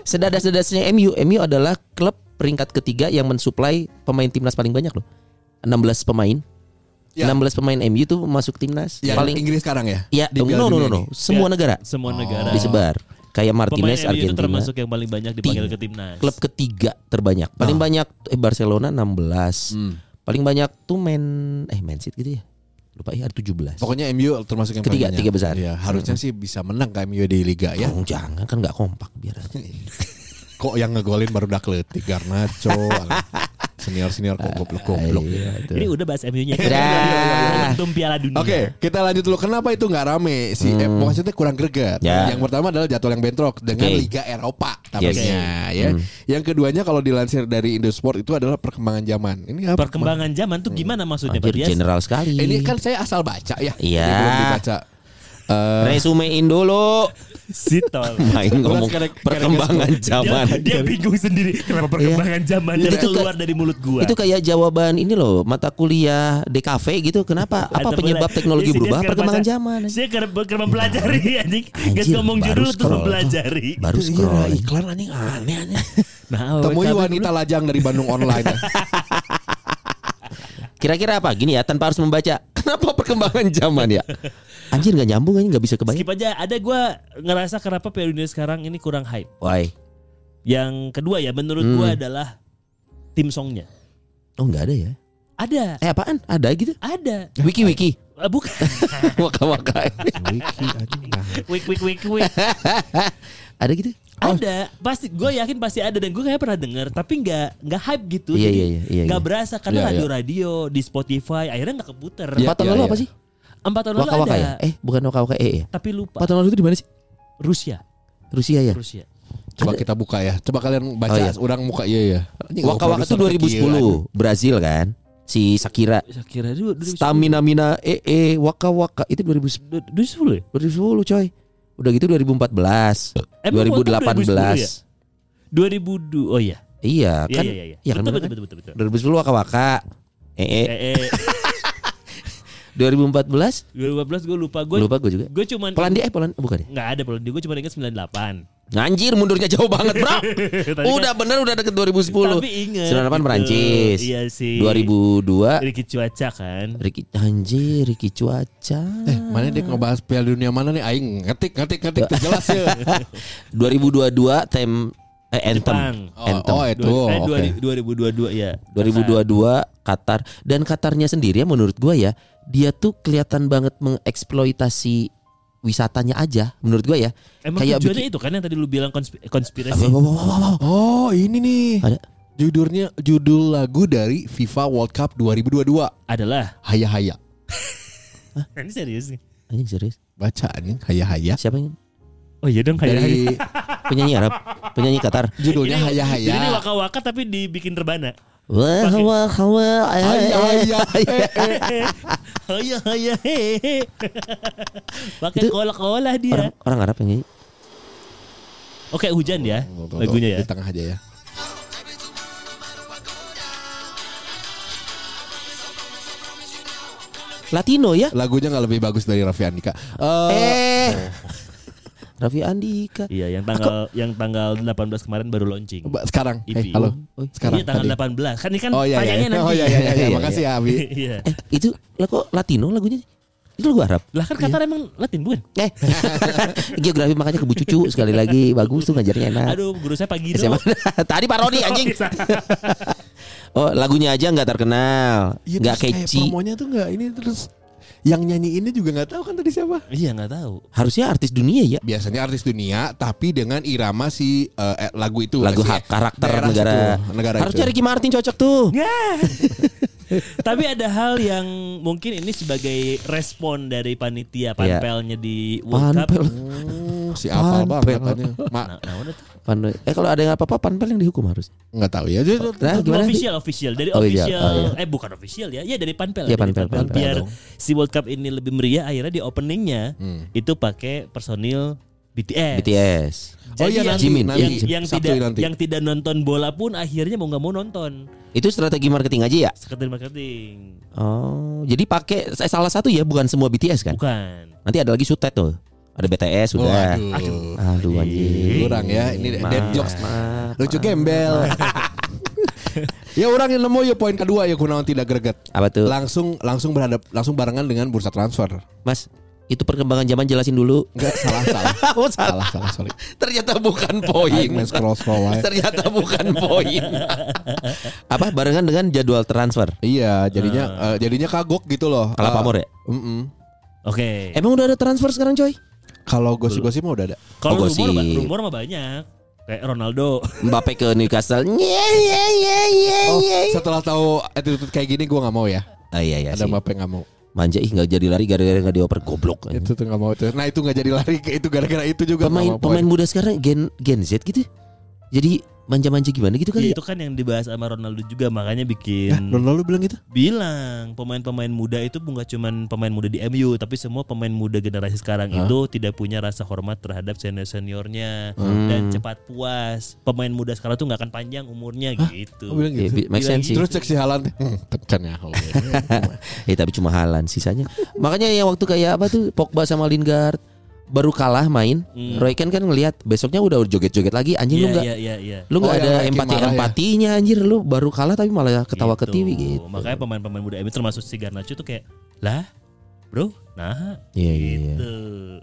[SPEAKER 5] Sedadas-sedasnya MU MU adalah klub peringkat ketiga Yang mensuplai pemain timnas paling banyak loh 16 pemain
[SPEAKER 4] Ya.
[SPEAKER 3] Iya.
[SPEAKER 5] 16 pemain MU tuh masuk timnas
[SPEAKER 4] yang
[SPEAKER 5] Paling
[SPEAKER 4] Inggris sekarang ya?
[SPEAKER 5] Ya
[SPEAKER 4] Di Piala
[SPEAKER 5] no, no no
[SPEAKER 4] Dunia
[SPEAKER 5] no
[SPEAKER 4] ini.
[SPEAKER 3] Ya,
[SPEAKER 5] Semua negara
[SPEAKER 4] Oh.
[SPEAKER 3] Semua negara.
[SPEAKER 5] Disebar Kayak
[SPEAKER 3] Pemain MU
[SPEAKER 5] Martinez
[SPEAKER 3] itu
[SPEAKER 5] Argentina
[SPEAKER 3] termasuk yang paling banyak dipanggil
[SPEAKER 5] Tim.
[SPEAKER 3] ke timnas.
[SPEAKER 5] klub ketiga terbanyak. Paling banyak eh Barcelona 16.
[SPEAKER 4] Hmm.
[SPEAKER 5] Paling banyak tuh Man eh Man City gitu ya. Lupa ya ada 17.
[SPEAKER 4] Pokoknya MU termasuk yang
[SPEAKER 5] Ketiga,
[SPEAKER 4] paling banyak.
[SPEAKER 5] tiga besar.
[SPEAKER 4] Iya, harusnya sih bisa menang ke MU di liga ya.
[SPEAKER 5] Oh, jangan kan nggak kompak biar. aja.
[SPEAKER 4] Kok yang ngegolin baru udah keletik Garnacho. senior senior kok goblok goblok.
[SPEAKER 5] Iya, tuh.
[SPEAKER 3] Ini udah bahas MU-nya.
[SPEAKER 5] Udah.
[SPEAKER 3] Momentum Piala Dunia.
[SPEAKER 4] Oke, kita lanjut dulu. Kenapa itu nggak rame? Si eh, maksudnya kurang greget.
[SPEAKER 5] Hmm. Ya.
[SPEAKER 4] Yang pertama adalah jadwal yang bentrok dengan
[SPEAKER 5] Oke. Hmm.
[SPEAKER 4] Liga Eropa tampaknya ya. Yang keduanya kalau dilansir dari Indosport itu adalah perkembangan zaman. Ini apa?
[SPEAKER 3] Perkembangan zaman tuh gimana maksudnya Pak
[SPEAKER 5] Hmm. Anjir
[SPEAKER 3] Dias?
[SPEAKER 5] general sekali.
[SPEAKER 4] Ini kan saya asal baca ya.
[SPEAKER 5] Iya.
[SPEAKER 4] Ini Belum dibaca. Eh,
[SPEAKER 5] resumein dulu.
[SPEAKER 3] Sitol.
[SPEAKER 5] Main ngomong
[SPEAKER 4] sekarang- sekarang
[SPEAKER 5] perkembangan
[SPEAKER 3] Dia,
[SPEAKER 5] zaman. Iya.
[SPEAKER 3] dia bingung sendiri kenapa perkembangan zaman
[SPEAKER 5] Itu
[SPEAKER 3] dan
[SPEAKER 5] tuh
[SPEAKER 3] keluar dari mulut gua.
[SPEAKER 5] Itu kayak jawaban ini loh mata kuliah DKV gitu. Kenapa? Apa
[SPEAKER 3] Atau
[SPEAKER 5] penyebab
[SPEAKER 3] mulai-
[SPEAKER 5] teknologi
[SPEAKER 3] Iya sih, dia
[SPEAKER 5] berubah?
[SPEAKER 3] sekarang
[SPEAKER 5] Perkembangan
[SPEAKER 3] baca-
[SPEAKER 5] zaman.
[SPEAKER 3] Saya kerap kerap mempelajari anjing. Guys
[SPEAKER 5] Anjir,
[SPEAKER 3] ngomong
[SPEAKER 5] baru
[SPEAKER 3] judul terus
[SPEAKER 5] scroll.
[SPEAKER 3] mempelajari.
[SPEAKER 5] Baru scroll.
[SPEAKER 4] iklan anjing aneh aneh.
[SPEAKER 3] Nah,
[SPEAKER 4] Temui
[SPEAKER 3] WKB
[SPEAKER 4] wanita lajang dari Bandung online. ya.
[SPEAKER 5] Kira-kira apa? Gini ya, tanpa harus membaca. Kenapa perkembangan zaman ya? Anjir nggak nyambung anjing nggak bisa
[SPEAKER 3] dulu.
[SPEAKER 5] kebayang.
[SPEAKER 3] Skip aja. Ada gua ngerasa kenapa Piala Dunia sekarang ini kurang hype.
[SPEAKER 5] Why? Hmm.
[SPEAKER 3] Yang kedua ya menurut gua adalah tim songnya.
[SPEAKER 5] Oh nggak ada ya?
[SPEAKER 3] Ada,
[SPEAKER 5] Eh apaan? Ada gitu?
[SPEAKER 3] ada.
[SPEAKER 5] Wiki wiki.
[SPEAKER 3] Eh, Bukan.
[SPEAKER 5] waka waka.
[SPEAKER 4] Wiki anjing nah.
[SPEAKER 3] Wik wik wik wik.
[SPEAKER 5] ada gitu?
[SPEAKER 3] Ada, pasti. Gue yakin pasti ada dan gue kayak pernah denger, tapi nggak nggak hype gitu.
[SPEAKER 5] Iya,
[SPEAKER 3] Jadi
[SPEAKER 5] iya, iya, iya,
[SPEAKER 3] nggak
[SPEAKER 5] iya.
[SPEAKER 3] berasa karena
[SPEAKER 4] Iya, iya.
[SPEAKER 3] radio-radio di Spotify akhirnya nggak keputer.
[SPEAKER 5] Empat tahun
[SPEAKER 4] iya,
[SPEAKER 5] lalu
[SPEAKER 4] iya.
[SPEAKER 5] apa sih?
[SPEAKER 3] Empat tahun lalu
[SPEAKER 5] Waka waka
[SPEAKER 3] ada,
[SPEAKER 5] ya? Eh bukan waka waka eh ya.
[SPEAKER 3] tapi lupa.
[SPEAKER 5] Empat tahun lalu itu di mana sih?
[SPEAKER 3] Rusia,
[SPEAKER 5] Rusia ya.
[SPEAKER 3] Rusia.
[SPEAKER 4] Coba kita buka ya. Coba kalian baca
[SPEAKER 5] Oh, iya.
[SPEAKER 4] orang muka iya ya.
[SPEAKER 5] Waka waka itu 2010 Brazil kan? Si Sakira.
[SPEAKER 3] Saya kira dulu
[SPEAKER 5] Stamina mina eh eh waka waka itu 2010
[SPEAKER 3] dulu sepuluh ya?
[SPEAKER 5] 2010 coy. Udah gitu 2014,
[SPEAKER 3] Emang Waka
[SPEAKER 5] 2018.
[SPEAKER 3] 2010 ya? 2002 oh iya
[SPEAKER 5] Iya
[SPEAKER 3] iya
[SPEAKER 5] kan?
[SPEAKER 3] iya iya
[SPEAKER 5] Iya
[SPEAKER 3] betul, betul,
[SPEAKER 5] kan? bener kan?
[SPEAKER 3] betul betul betul
[SPEAKER 5] 2010 waka waka. Eh eh
[SPEAKER 3] eh, eh
[SPEAKER 5] 2014
[SPEAKER 3] 2015 gue lupa gue
[SPEAKER 5] lupa gue juga.
[SPEAKER 3] gue cuman
[SPEAKER 5] Polandia eh Polandia bukan ya?
[SPEAKER 3] nggak ada Polandia gue cuma ingat 98
[SPEAKER 5] Anjir mundurnya jauh banget, Bro.
[SPEAKER 3] Tadi kan-
[SPEAKER 5] udah bener udah deket 2010.
[SPEAKER 3] tapi ingat
[SPEAKER 5] 98
[SPEAKER 3] gitu.
[SPEAKER 5] Perancis.
[SPEAKER 3] iya sih
[SPEAKER 5] 2002
[SPEAKER 3] Riki cuaca kan
[SPEAKER 5] Ricky anjir Ricky cuaca.
[SPEAKER 4] Eh, mana dia ngebahas Piala Dunia mana nih? Aing ngetik ngetik ngetik tuh jelas ya.
[SPEAKER 5] 2022 tem eh,
[SPEAKER 3] Jepang.
[SPEAKER 5] anthem.
[SPEAKER 4] Oh,
[SPEAKER 5] anthem.
[SPEAKER 4] oh itu.
[SPEAKER 3] Dua- eh,
[SPEAKER 4] oke.
[SPEAKER 3] dua- 2022 ya
[SPEAKER 5] 2022 Qatar dan Qatarnya sendiri ya menurut gua ya dia tuh kelihatan banget mengeksploitasi wisatanya aja menurut gua ya.
[SPEAKER 3] emang
[SPEAKER 5] Kayak
[SPEAKER 3] tujuannya itu kan yang tadi lu bilang konspi- konspirasi
[SPEAKER 5] Wow, wow, wow, wow.
[SPEAKER 4] Oh, ini nih.
[SPEAKER 5] Ada.
[SPEAKER 4] Judulnya judul lagu dari FIFA World Cup 2022.
[SPEAKER 3] adalah
[SPEAKER 4] Haya haya.
[SPEAKER 3] ini serius nih
[SPEAKER 5] Anjing serius.
[SPEAKER 4] Baca anjing haya haya.
[SPEAKER 5] Siapa yang
[SPEAKER 3] oh iya dong kayak
[SPEAKER 4] Dari Iya,
[SPEAKER 5] penyanyi Arab? Penyanyi Qatar.
[SPEAKER 3] Ini-
[SPEAKER 4] judulnya haya haya.
[SPEAKER 3] Jadi ini waka-waka tapi dibikin terbana.
[SPEAKER 5] Wah,
[SPEAKER 3] Pakai-
[SPEAKER 5] wah, wah, eh,
[SPEAKER 4] Haya
[SPEAKER 5] eh,
[SPEAKER 4] haya.
[SPEAKER 5] eh.
[SPEAKER 3] Haya haya hehe. Pakai
[SPEAKER 5] Itu-
[SPEAKER 3] kolak-kolak dia.
[SPEAKER 5] Orang orang Arab yang nyanyi.
[SPEAKER 3] Oke hujan ya
[SPEAKER 4] Tuh, tuh, tuh.
[SPEAKER 3] lagunya ya.
[SPEAKER 4] Di tengah aja ya.
[SPEAKER 5] Latino ya?
[SPEAKER 4] Lagunya nggak lebih bagus dari Raffi Andika. Eh,
[SPEAKER 5] Eh. Raffi Andika.
[SPEAKER 3] Iya yang tanggal yang tanggal 18 kemarin baru launching.
[SPEAKER 4] ba- sekarang.
[SPEAKER 3] Ipi.
[SPEAKER 4] Hey, halo.
[SPEAKER 5] Oi.
[SPEAKER 4] Sekarang.
[SPEAKER 3] Iya tanggal
[SPEAKER 4] tadi.
[SPEAKER 3] 18. Kan ini kan
[SPEAKER 4] Oh iya iya.
[SPEAKER 3] tayangnya nanti.
[SPEAKER 4] Oh iya iya iya.
[SPEAKER 5] Iya,
[SPEAKER 4] Makasih ya Abi.
[SPEAKER 3] Iya.
[SPEAKER 5] Eh, itu lah kok Latino lagunya? Itu lagu Arab.
[SPEAKER 3] Lah kan Qatar
[SPEAKER 4] Iya.
[SPEAKER 3] emang Latin bukan?
[SPEAKER 5] Eh. Geografi makanya kebucucu sekali lagi bagus tuh ngajarnya
[SPEAKER 4] Iya.
[SPEAKER 5] enak.
[SPEAKER 3] Aduh, guru saya Iya, Pak
[SPEAKER 4] gitu.
[SPEAKER 3] Guido.
[SPEAKER 5] SMA. Tadi parodi anjing. Oh, lagunya aja nggak terkenal,
[SPEAKER 4] Iya,
[SPEAKER 5] nggak
[SPEAKER 4] terus kayak
[SPEAKER 5] catchy.
[SPEAKER 4] promonya tuh nggak ini terus yang nyanyi ini juga nggak tahu kan tadi siapa.
[SPEAKER 3] Iya, enggak tahu.
[SPEAKER 5] Harusnya artis dunia ya.
[SPEAKER 4] Biasanya artis dunia tapi dengan irama si eh, eh, lagu itu.
[SPEAKER 5] Lagu
[SPEAKER 4] Si
[SPEAKER 5] hak karakter
[SPEAKER 4] daerah
[SPEAKER 5] negara.
[SPEAKER 4] situ, negara
[SPEAKER 5] Harusnya
[SPEAKER 4] itu.
[SPEAKER 5] Ricky Martin cocok tuh.
[SPEAKER 3] Tapi ada hal yang mungkin ini sebagai respon dari
[SPEAKER 4] Iya.
[SPEAKER 3] panitia panpelnya di World Cup.
[SPEAKER 5] Panpel.
[SPEAKER 4] Hmm, si apal banget
[SPEAKER 5] Panpel.
[SPEAKER 4] katanya. Ma,
[SPEAKER 3] Nah, nah, udah tuh.
[SPEAKER 5] Pandu- Eh kalau ada yang apa-apa Panpel yang dihukum harus.
[SPEAKER 4] nggak tahu ya. Jadi,
[SPEAKER 5] Nah, gimana? Bi?
[SPEAKER 3] official official dari
[SPEAKER 5] Oh, iya.
[SPEAKER 3] official
[SPEAKER 5] Oh,
[SPEAKER 3] eh bukan official ya ya dari panpel
[SPEAKER 5] Iya,
[SPEAKER 3] dari
[SPEAKER 5] Panpel, Panpel
[SPEAKER 3] biar
[SPEAKER 5] dong.
[SPEAKER 3] si World Cup ini lebih meriah akhirnya di openingnya
[SPEAKER 4] Hmm.
[SPEAKER 3] itu pakai personil BTS,
[SPEAKER 5] BTS.
[SPEAKER 3] Jadi
[SPEAKER 4] iya,
[SPEAKER 3] yang,
[SPEAKER 4] nanti,
[SPEAKER 5] Jimin,
[SPEAKER 3] yang,
[SPEAKER 5] nanti.
[SPEAKER 3] yang
[SPEAKER 4] Sabtu
[SPEAKER 3] tidak
[SPEAKER 4] nanti.
[SPEAKER 3] yang tidak nonton bola pun akhirnya mau nggak mau nonton
[SPEAKER 5] Itu strategi marketing aja ya.
[SPEAKER 3] sekretari marketing
[SPEAKER 5] Oh, jadi pakai eh, salah satu ya, bukan semua BTS kan?
[SPEAKER 3] bukan
[SPEAKER 5] Nanti ada lagi Sutet tuh. Ada BTS sudah.
[SPEAKER 4] Waduh.
[SPEAKER 5] Aduh anjing.
[SPEAKER 4] Kurang ya, ini
[SPEAKER 5] Maaf,
[SPEAKER 4] dead jokes.
[SPEAKER 5] maaf.
[SPEAKER 4] Lucu gembel. ya orang yang nemu ya poin kedua ya kunaon tidak greget.
[SPEAKER 5] Apa tuh?
[SPEAKER 4] Langsung langsung berhadap langsung barengan dengan bursa transfer.
[SPEAKER 5] Mas, itu perkembangan zaman jelasin dulu.
[SPEAKER 4] Enggak salah salah.
[SPEAKER 5] Oh, salah.
[SPEAKER 4] salah salah sorry.
[SPEAKER 5] Ternyata bukan
[SPEAKER 4] Aing
[SPEAKER 5] poin.
[SPEAKER 4] main scroll scroll aja.
[SPEAKER 5] Ternyata bukan poin. Apa barengan dengan jadwal transfer?
[SPEAKER 4] Iya, jadinya eh, jadinya kagok gitu loh. Eh,
[SPEAKER 5] Kelapa Amor ya?
[SPEAKER 4] mm-mm.
[SPEAKER 3] oke
[SPEAKER 5] Emang udah ada transfer sekarang, coy?
[SPEAKER 4] Kalau gosip-gosip mah udah ada.
[SPEAKER 5] oh,
[SPEAKER 3] kalau rumor
[SPEAKER 5] gosip.
[SPEAKER 3] ba- rumor mah banyak kayak Ronaldo
[SPEAKER 5] Mbappe ke Newcastle. Nye, nye, nye, nye,
[SPEAKER 4] Oh,
[SPEAKER 5] nye.
[SPEAKER 4] setelah tahu attitude kayak gini gua nggak mau ya.
[SPEAKER 5] Ah, iya iya
[SPEAKER 4] Ada
[SPEAKER 5] sih.
[SPEAKER 4] Mbappe nggak mau.
[SPEAKER 5] Manja ih enggak jadi lari gara-gara enggak dioper goblok.
[SPEAKER 4] Itu tuh nggak mau tuh. Nah itu nggak jadi lari ke itu gara-gara itu juga.
[SPEAKER 5] Pemain
[SPEAKER 4] nggak mau
[SPEAKER 5] pemain muda sekarang gen Gen Z gitu. ya. Jadi manja-manja gimana gitu
[SPEAKER 3] Ya,
[SPEAKER 4] Iya,
[SPEAKER 5] kali ya?
[SPEAKER 3] itu kan yang dibahas sama Ronaldo juga makanya
[SPEAKER 4] poin. Hah,
[SPEAKER 3] bikin
[SPEAKER 4] Ronaldo bilang gitu?
[SPEAKER 3] bilang pemain-pemain muda itu bukan cuman pemain muda di MU tapi semua pemain muda generasi sekarang itu tidak punya rasa hormat terhadap senior-seniornya
[SPEAKER 5] Hmm.
[SPEAKER 3] dan cepat puas. Pemain muda sekarang tuh nggak akan panjang umurnya
[SPEAKER 4] Oh,
[SPEAKER 3] gitu.
[SPEAKER 4] bilang
[SPEAKER 5] Ya,
[SPEAKER 4] gitu.
[SPEAKER 5] bi- make sense sih.
[SPEAKER 4] Terus cek si Halan hmm, tekan ya. Oh,
[SPEAKER 5] Eh tapi cuma halan sisanya. Makanya yang waktu kayak apa tuh Pogba sama Lingard baru kalah main.
[SPEAKER 3] Hmm.
[SPEAKER 5] Roy Keane kan ngelihat besoknya udah joget-joget lagi anjing
[SPEAKER 3] Iya
[SPEAKER 5] lu enggak
[SPEAKER 3] iya iya iya.
[SPEAKER 5] lu nggak
[SPEAKER 4] Oh,
[SPEAKER 5] ada
[SPEAKER 4] yang lagi
[SPEAKER 5] empati
[SPEAKER 4] marah ya.
[SPEAKER 5] empatinya anjir lu baru kalah tapi malah ketawa
[SPEAKER 3] Gitu.
[SPEAKER 5] ketiwi gitu.
[SPEAKER 3] Makanya pemain-pemain muda MU termasuk si Garnacho tuh kayak, "Lah, Bro, nah."
[SPEAKER 5] Iya, iya, iya.
[SPEAKER 3] gitu.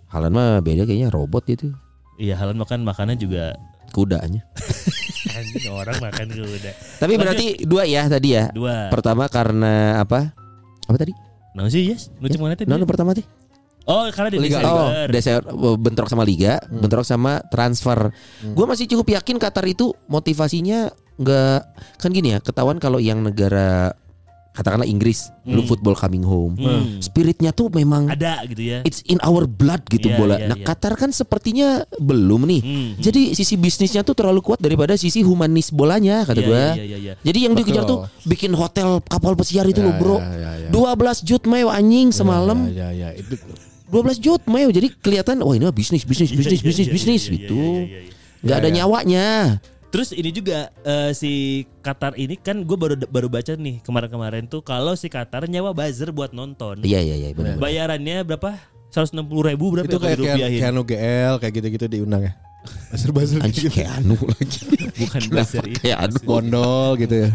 [SPEAKER 5] Halan mah beda kayaknya robot gitu.
[SPEAKER 3] Iya, Halan makan makannya juga
[SPEAKER 5] Kudanya.
[SPEAKER 3] anjing orang makan kuda.
[SPEAKER 5] Tapi berarti dua ya tadi ya.
[SPEAKER 3] Dua.
[SPEAKER 5] Pertama karena apa? Apa tadi?
[SPEAKER 3] Nah sih yes, nu cuma nanti.
[SPEAKER 5] Nah, pertama tadi.
[SPEAKER 3] Oh karena di
[SPEAKER 5] Liga. Oh, dasar bentrok sama liga, bentrok sama transfer. Gua masih cukup yakin Qatar itu motivasinya nggak kan gini ya, ketahuan kalau yang negara katakanlah Inggris,
[SPEAKER 3] Hmm.
[SPEAKER 5] lu football coming home.
[SPEAKER 3] Hmm.
[SPEAKER 5] Spiritnya tuh memang
[SPEAKER 3] Ada gitu ya.
[SPEAKER 5] it's in our blood gitu
[SPEAKER 3] Iya,
[SPEAKER 5] bola.
[SPEAKER 3] iya,
[SPEAKER 5] nah,
[SPEAKER 3] iya.
[SPEAKER 5] Qatar kan sepertinya belum nih.
[SPEAKER 3] Hmm, hmm.
[SPEAKER 5] Jadi sisi bisnisnya tuh terlalu kuat daripada sisi humanis bolanya kata
[SPEAKER 3] Iya,
[SPEAKER 5] gua.
[SPEAKER 3] Iya iya iya.
[SPEAKER 5] Jadi yang
[SPEAKER 4] Betul.
[SPEAKER 5] dikejar tuh bikin hotel kapal pesiar itu
[SPEAKER 4] Ya,
[SPEAKER 5] loh, Bro.
[SPEAKER 4] ya, ya, ya.
[SPEAKER 5] 12 jut meo anjing semalam.
[SPEAKER 4] Ya, ya, ya. Itu
[SPEAKER 5] 12 jut meo jadi kelihatan wah ini mah bisnis bisnis
[SPEAKER 3] Iya,
[SPEAKER 5] bisnis
[SPEAKER 3] iya,
[SPEAKER 5] bisnis
[SPEAKER 3] iya,
[SPEAKER 5] bisnis
[SPEAKER 3] iya, iya,
[SPEAKER 5] gitu.
[SPEAKER 3] iya, iya, iya.
[SPEAKER 5] nggak ada
[SPEAKER 4] Iya, iya.
[SPEAKER 5] nyawanya.
[SPEAKER 3] Terus ini juga eh, si Qatar ini kan gue baru baru baca nih kemarin-kemarin tuh kalau si Qatar nyewa buzzer buat nonton.
[SPEAKER 5] Iya iya iya benar.
[SPEAKER 3] Bayarannya berapa? 160 ribu berapa
[SPEAKER 4] itu
[SPEAKER 3] ya kalau
[SPEAKER 4] kayak Keanu,
[SPEAKER 3] dirupiahin?
[SPEAKER 4] Keanu GL kayak gitu-gitu diundang ya. Buzzer-buzzer
[SPEAKER 5] Anjing
[SPEAKER 4] gitu.
[SPEAKER 5] kayak anu lagi.
[SPEAKER 3] Bukan iya,
[SPEAKER 5] Kenapa
[SPEAKER 3] buzzer ini.
[SPEAKER 5] kayak anu?
[SPEAKER 4] Gondol gitu ya.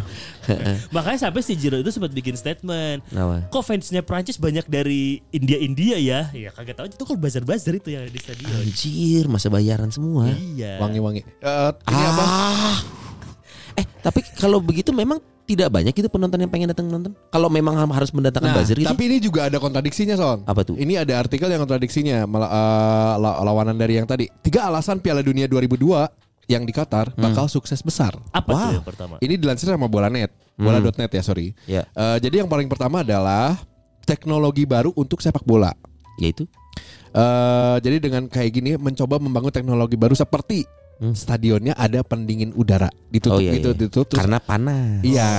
[SPEAKER 3] Makanya sampai si Giroud itu sempat bikin statement.
[SPEAKER 4] Nah.
[SPEAKER 5] Kenapa?
[SPEAKER 3] Kok fansnya Prancis banyak dari India-India ya? Ya kaget tahu itu kalau buzzer-buzzer itu yang ada di stadion.
[SPEAKER 5] Anjir, masa bayaran semua.
[SPEAKER 3] Iya.
[SPEAKER 4] Wangi-wangi. Eh, ini apa?
[SPEAKER 5] Ah. Eh, tapi kalau begitu memang tidak banyak itu penonton yang pengen datang nonton. Kalau memang harus mendatangkan
[SPEAKER 4] Nah,
[SPEAKER 5] buzzer itu.
[SPEAKER 4] tapi ini juga ada kontradiksinya Son.
[SPEAKER 5] Apa tuh?
[SPEAKER 4] Ini ada artikel yang kontradiksinya mala- eh, la- lawanan dari yang tadi. Tiga alasan Piala Dunia 2002 yang di Qatar
[SPEAKER 5] Hmm.
[SPEAKER 4] bakal sukses besar.
[SPEAKER 3] Apa tuh
[SPEAKER 5] Wow.
[SPEAKER 3] yang pertama?
[SPEAKER 4] Ini dilansir sama Bolanet,
[SPEAKER 5] Hmm.
[SPEAKER 4] bola.net ya sorry.
[SPEAKER 5] Ya.
[SPEAKER 4] Eh, jadi yang paling pertama adalah teknologi baru untuk sepak bola.
[SPEAKER 5] yaitu
[SPEAKER 4] Eh, jadi dengan kayak gini mencoba membangun teknologi baru seperti stadionnya ada pendingin udara ditutup
[SPEAKER 5] Hmm. Oh, iya,
[SPEAKER 4] gitu
[SPEAKER 5] iya.
[SPEAKER 4] ditutup terus-
[SPEAKER 5] karena panas. Oh,
[SPEAKER 4] iya.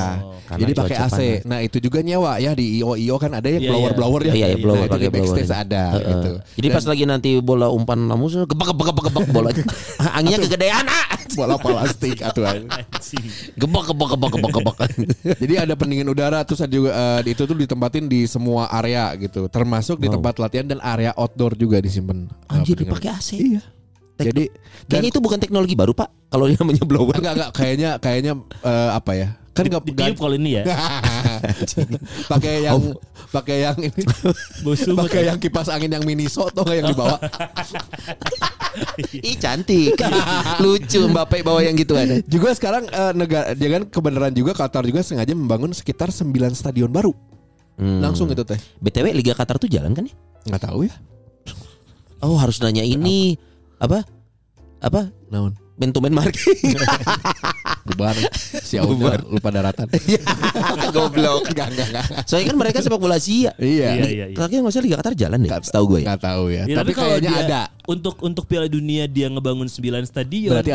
[SPEAKER 5] karena
[SPEAKER 4] jadi pakai
[SPEAKER 5] cuaca
[SPEAKER 4] AC.
[SPEAKER 5] panas.
[SPEAKER 4] Nah, itu juga nyewa ya di IO IO kan ada yang
[SPEAKER 3] Iya,
[SPEAKER 4] blower blower
[SPEAKER 5] Iya, iya, blower,
[SPEAKER 4] nah, itu
[SPEAKER 5] pakai
[SPEAKER 4] di backstage
[SPEAKER 5] blower.
[SPEAKER 4] ada
[SPEAKER 5] Heeh.
[SPEAKER 4] gitu.
[SPEAKER 5] Jadi pas lagi nanti bola umpan kamu gebak gebak gebak gebak bola anginnya kegedean ah.
[SPEAKER 4] bola plastik atau
[SPEAKER 3] Anjing.
[SPEAKER 5] Gebak gebak gebak gebak gebak.
[SPEAKER 4] Jadi ada pendingin udara terus ada juga eh, itu tuh ditempatin di semua area gitu, termasuk di
[SPEAKER 5] Wow.
[SPEAKER 4] tempat latihan dan area outdoor juga disimpan. eh,
[SPEAKER 5] Anjir
[SPEAKER 4] pendingin
[SPEAKER 5] dipakai AC.
[SPEAKER 4] Iya.
[SPEAKER 5] Tekno-
[SPEAKER 4] Jadi
[SPEAKER 5] Kayaknya itu bukan teknologi baru, Pak. Kalau dia namanya blower.
[SPEAKER 4] enggak enggak kayaknya kayaknya eh, apa ya? Kan enggak
[SPEAKER 3] Ditiup kalau ini ya.
[SPEAKER 4] pakai yang
[SPEAKER 5] Oh.
[SPEAKER 4] pakai yang ini
[SPEAKER 3] Bau sumut.
[SPEAKER 4] pakai yang kipas angin yang miniso atau yang dibawa
[SPEAKER 5] Ih cantik. Iya, Lucu Mbappe bawa yang gitu gituan.
[SPEAKER 4] juga sekarang eh, negara dia kan kebenaran juga Qatar juga sengaja membangun sekitar 9 stadion baru
[SPEAKER 5] Hmm.
[SPEAKER 4] langsung itu teh
[SPEAKER 5] BTW Liga Qatar tuh jalan kan ya?
[SPEAKER 4] nggak tahu ya
[SPEAKER 5] Oh, harus nanya ini apa? Apa?
[SPEAKER 4] naon
[SPEAKER 5] Man to man marketing.
[SPEAKER 4] bubar si Auda lupa daratan
[SPEAKER 5] Goblok.
[SPEAKER 4] enggak enggak enggak
[SPEAKER 5] Soalnya kan mereka sepak bola
[SPEAKER 4] iya
[SPEAKER 5] Asia.
[SPEAKER 3] Iya, iya, iya.
[SPEAKER 5] Terakhir nggak usah Liga Qatar jalan deh, setahu gue ya.
[SPEAKER 4] nggak tahu ya,
[SPEAKER 3] Ya,
[SPEAKER 4] tapi,
[SPEAKER 3] kalau
[SPEAKER 4] kayaknya
[SPEAKER 3] dia-
[SPEAKER 4] ada
[SPEAKER 3] Untuk untuk Piala Dunia dia ngebangun 9 stadion.
[SPEAKER 4] berarti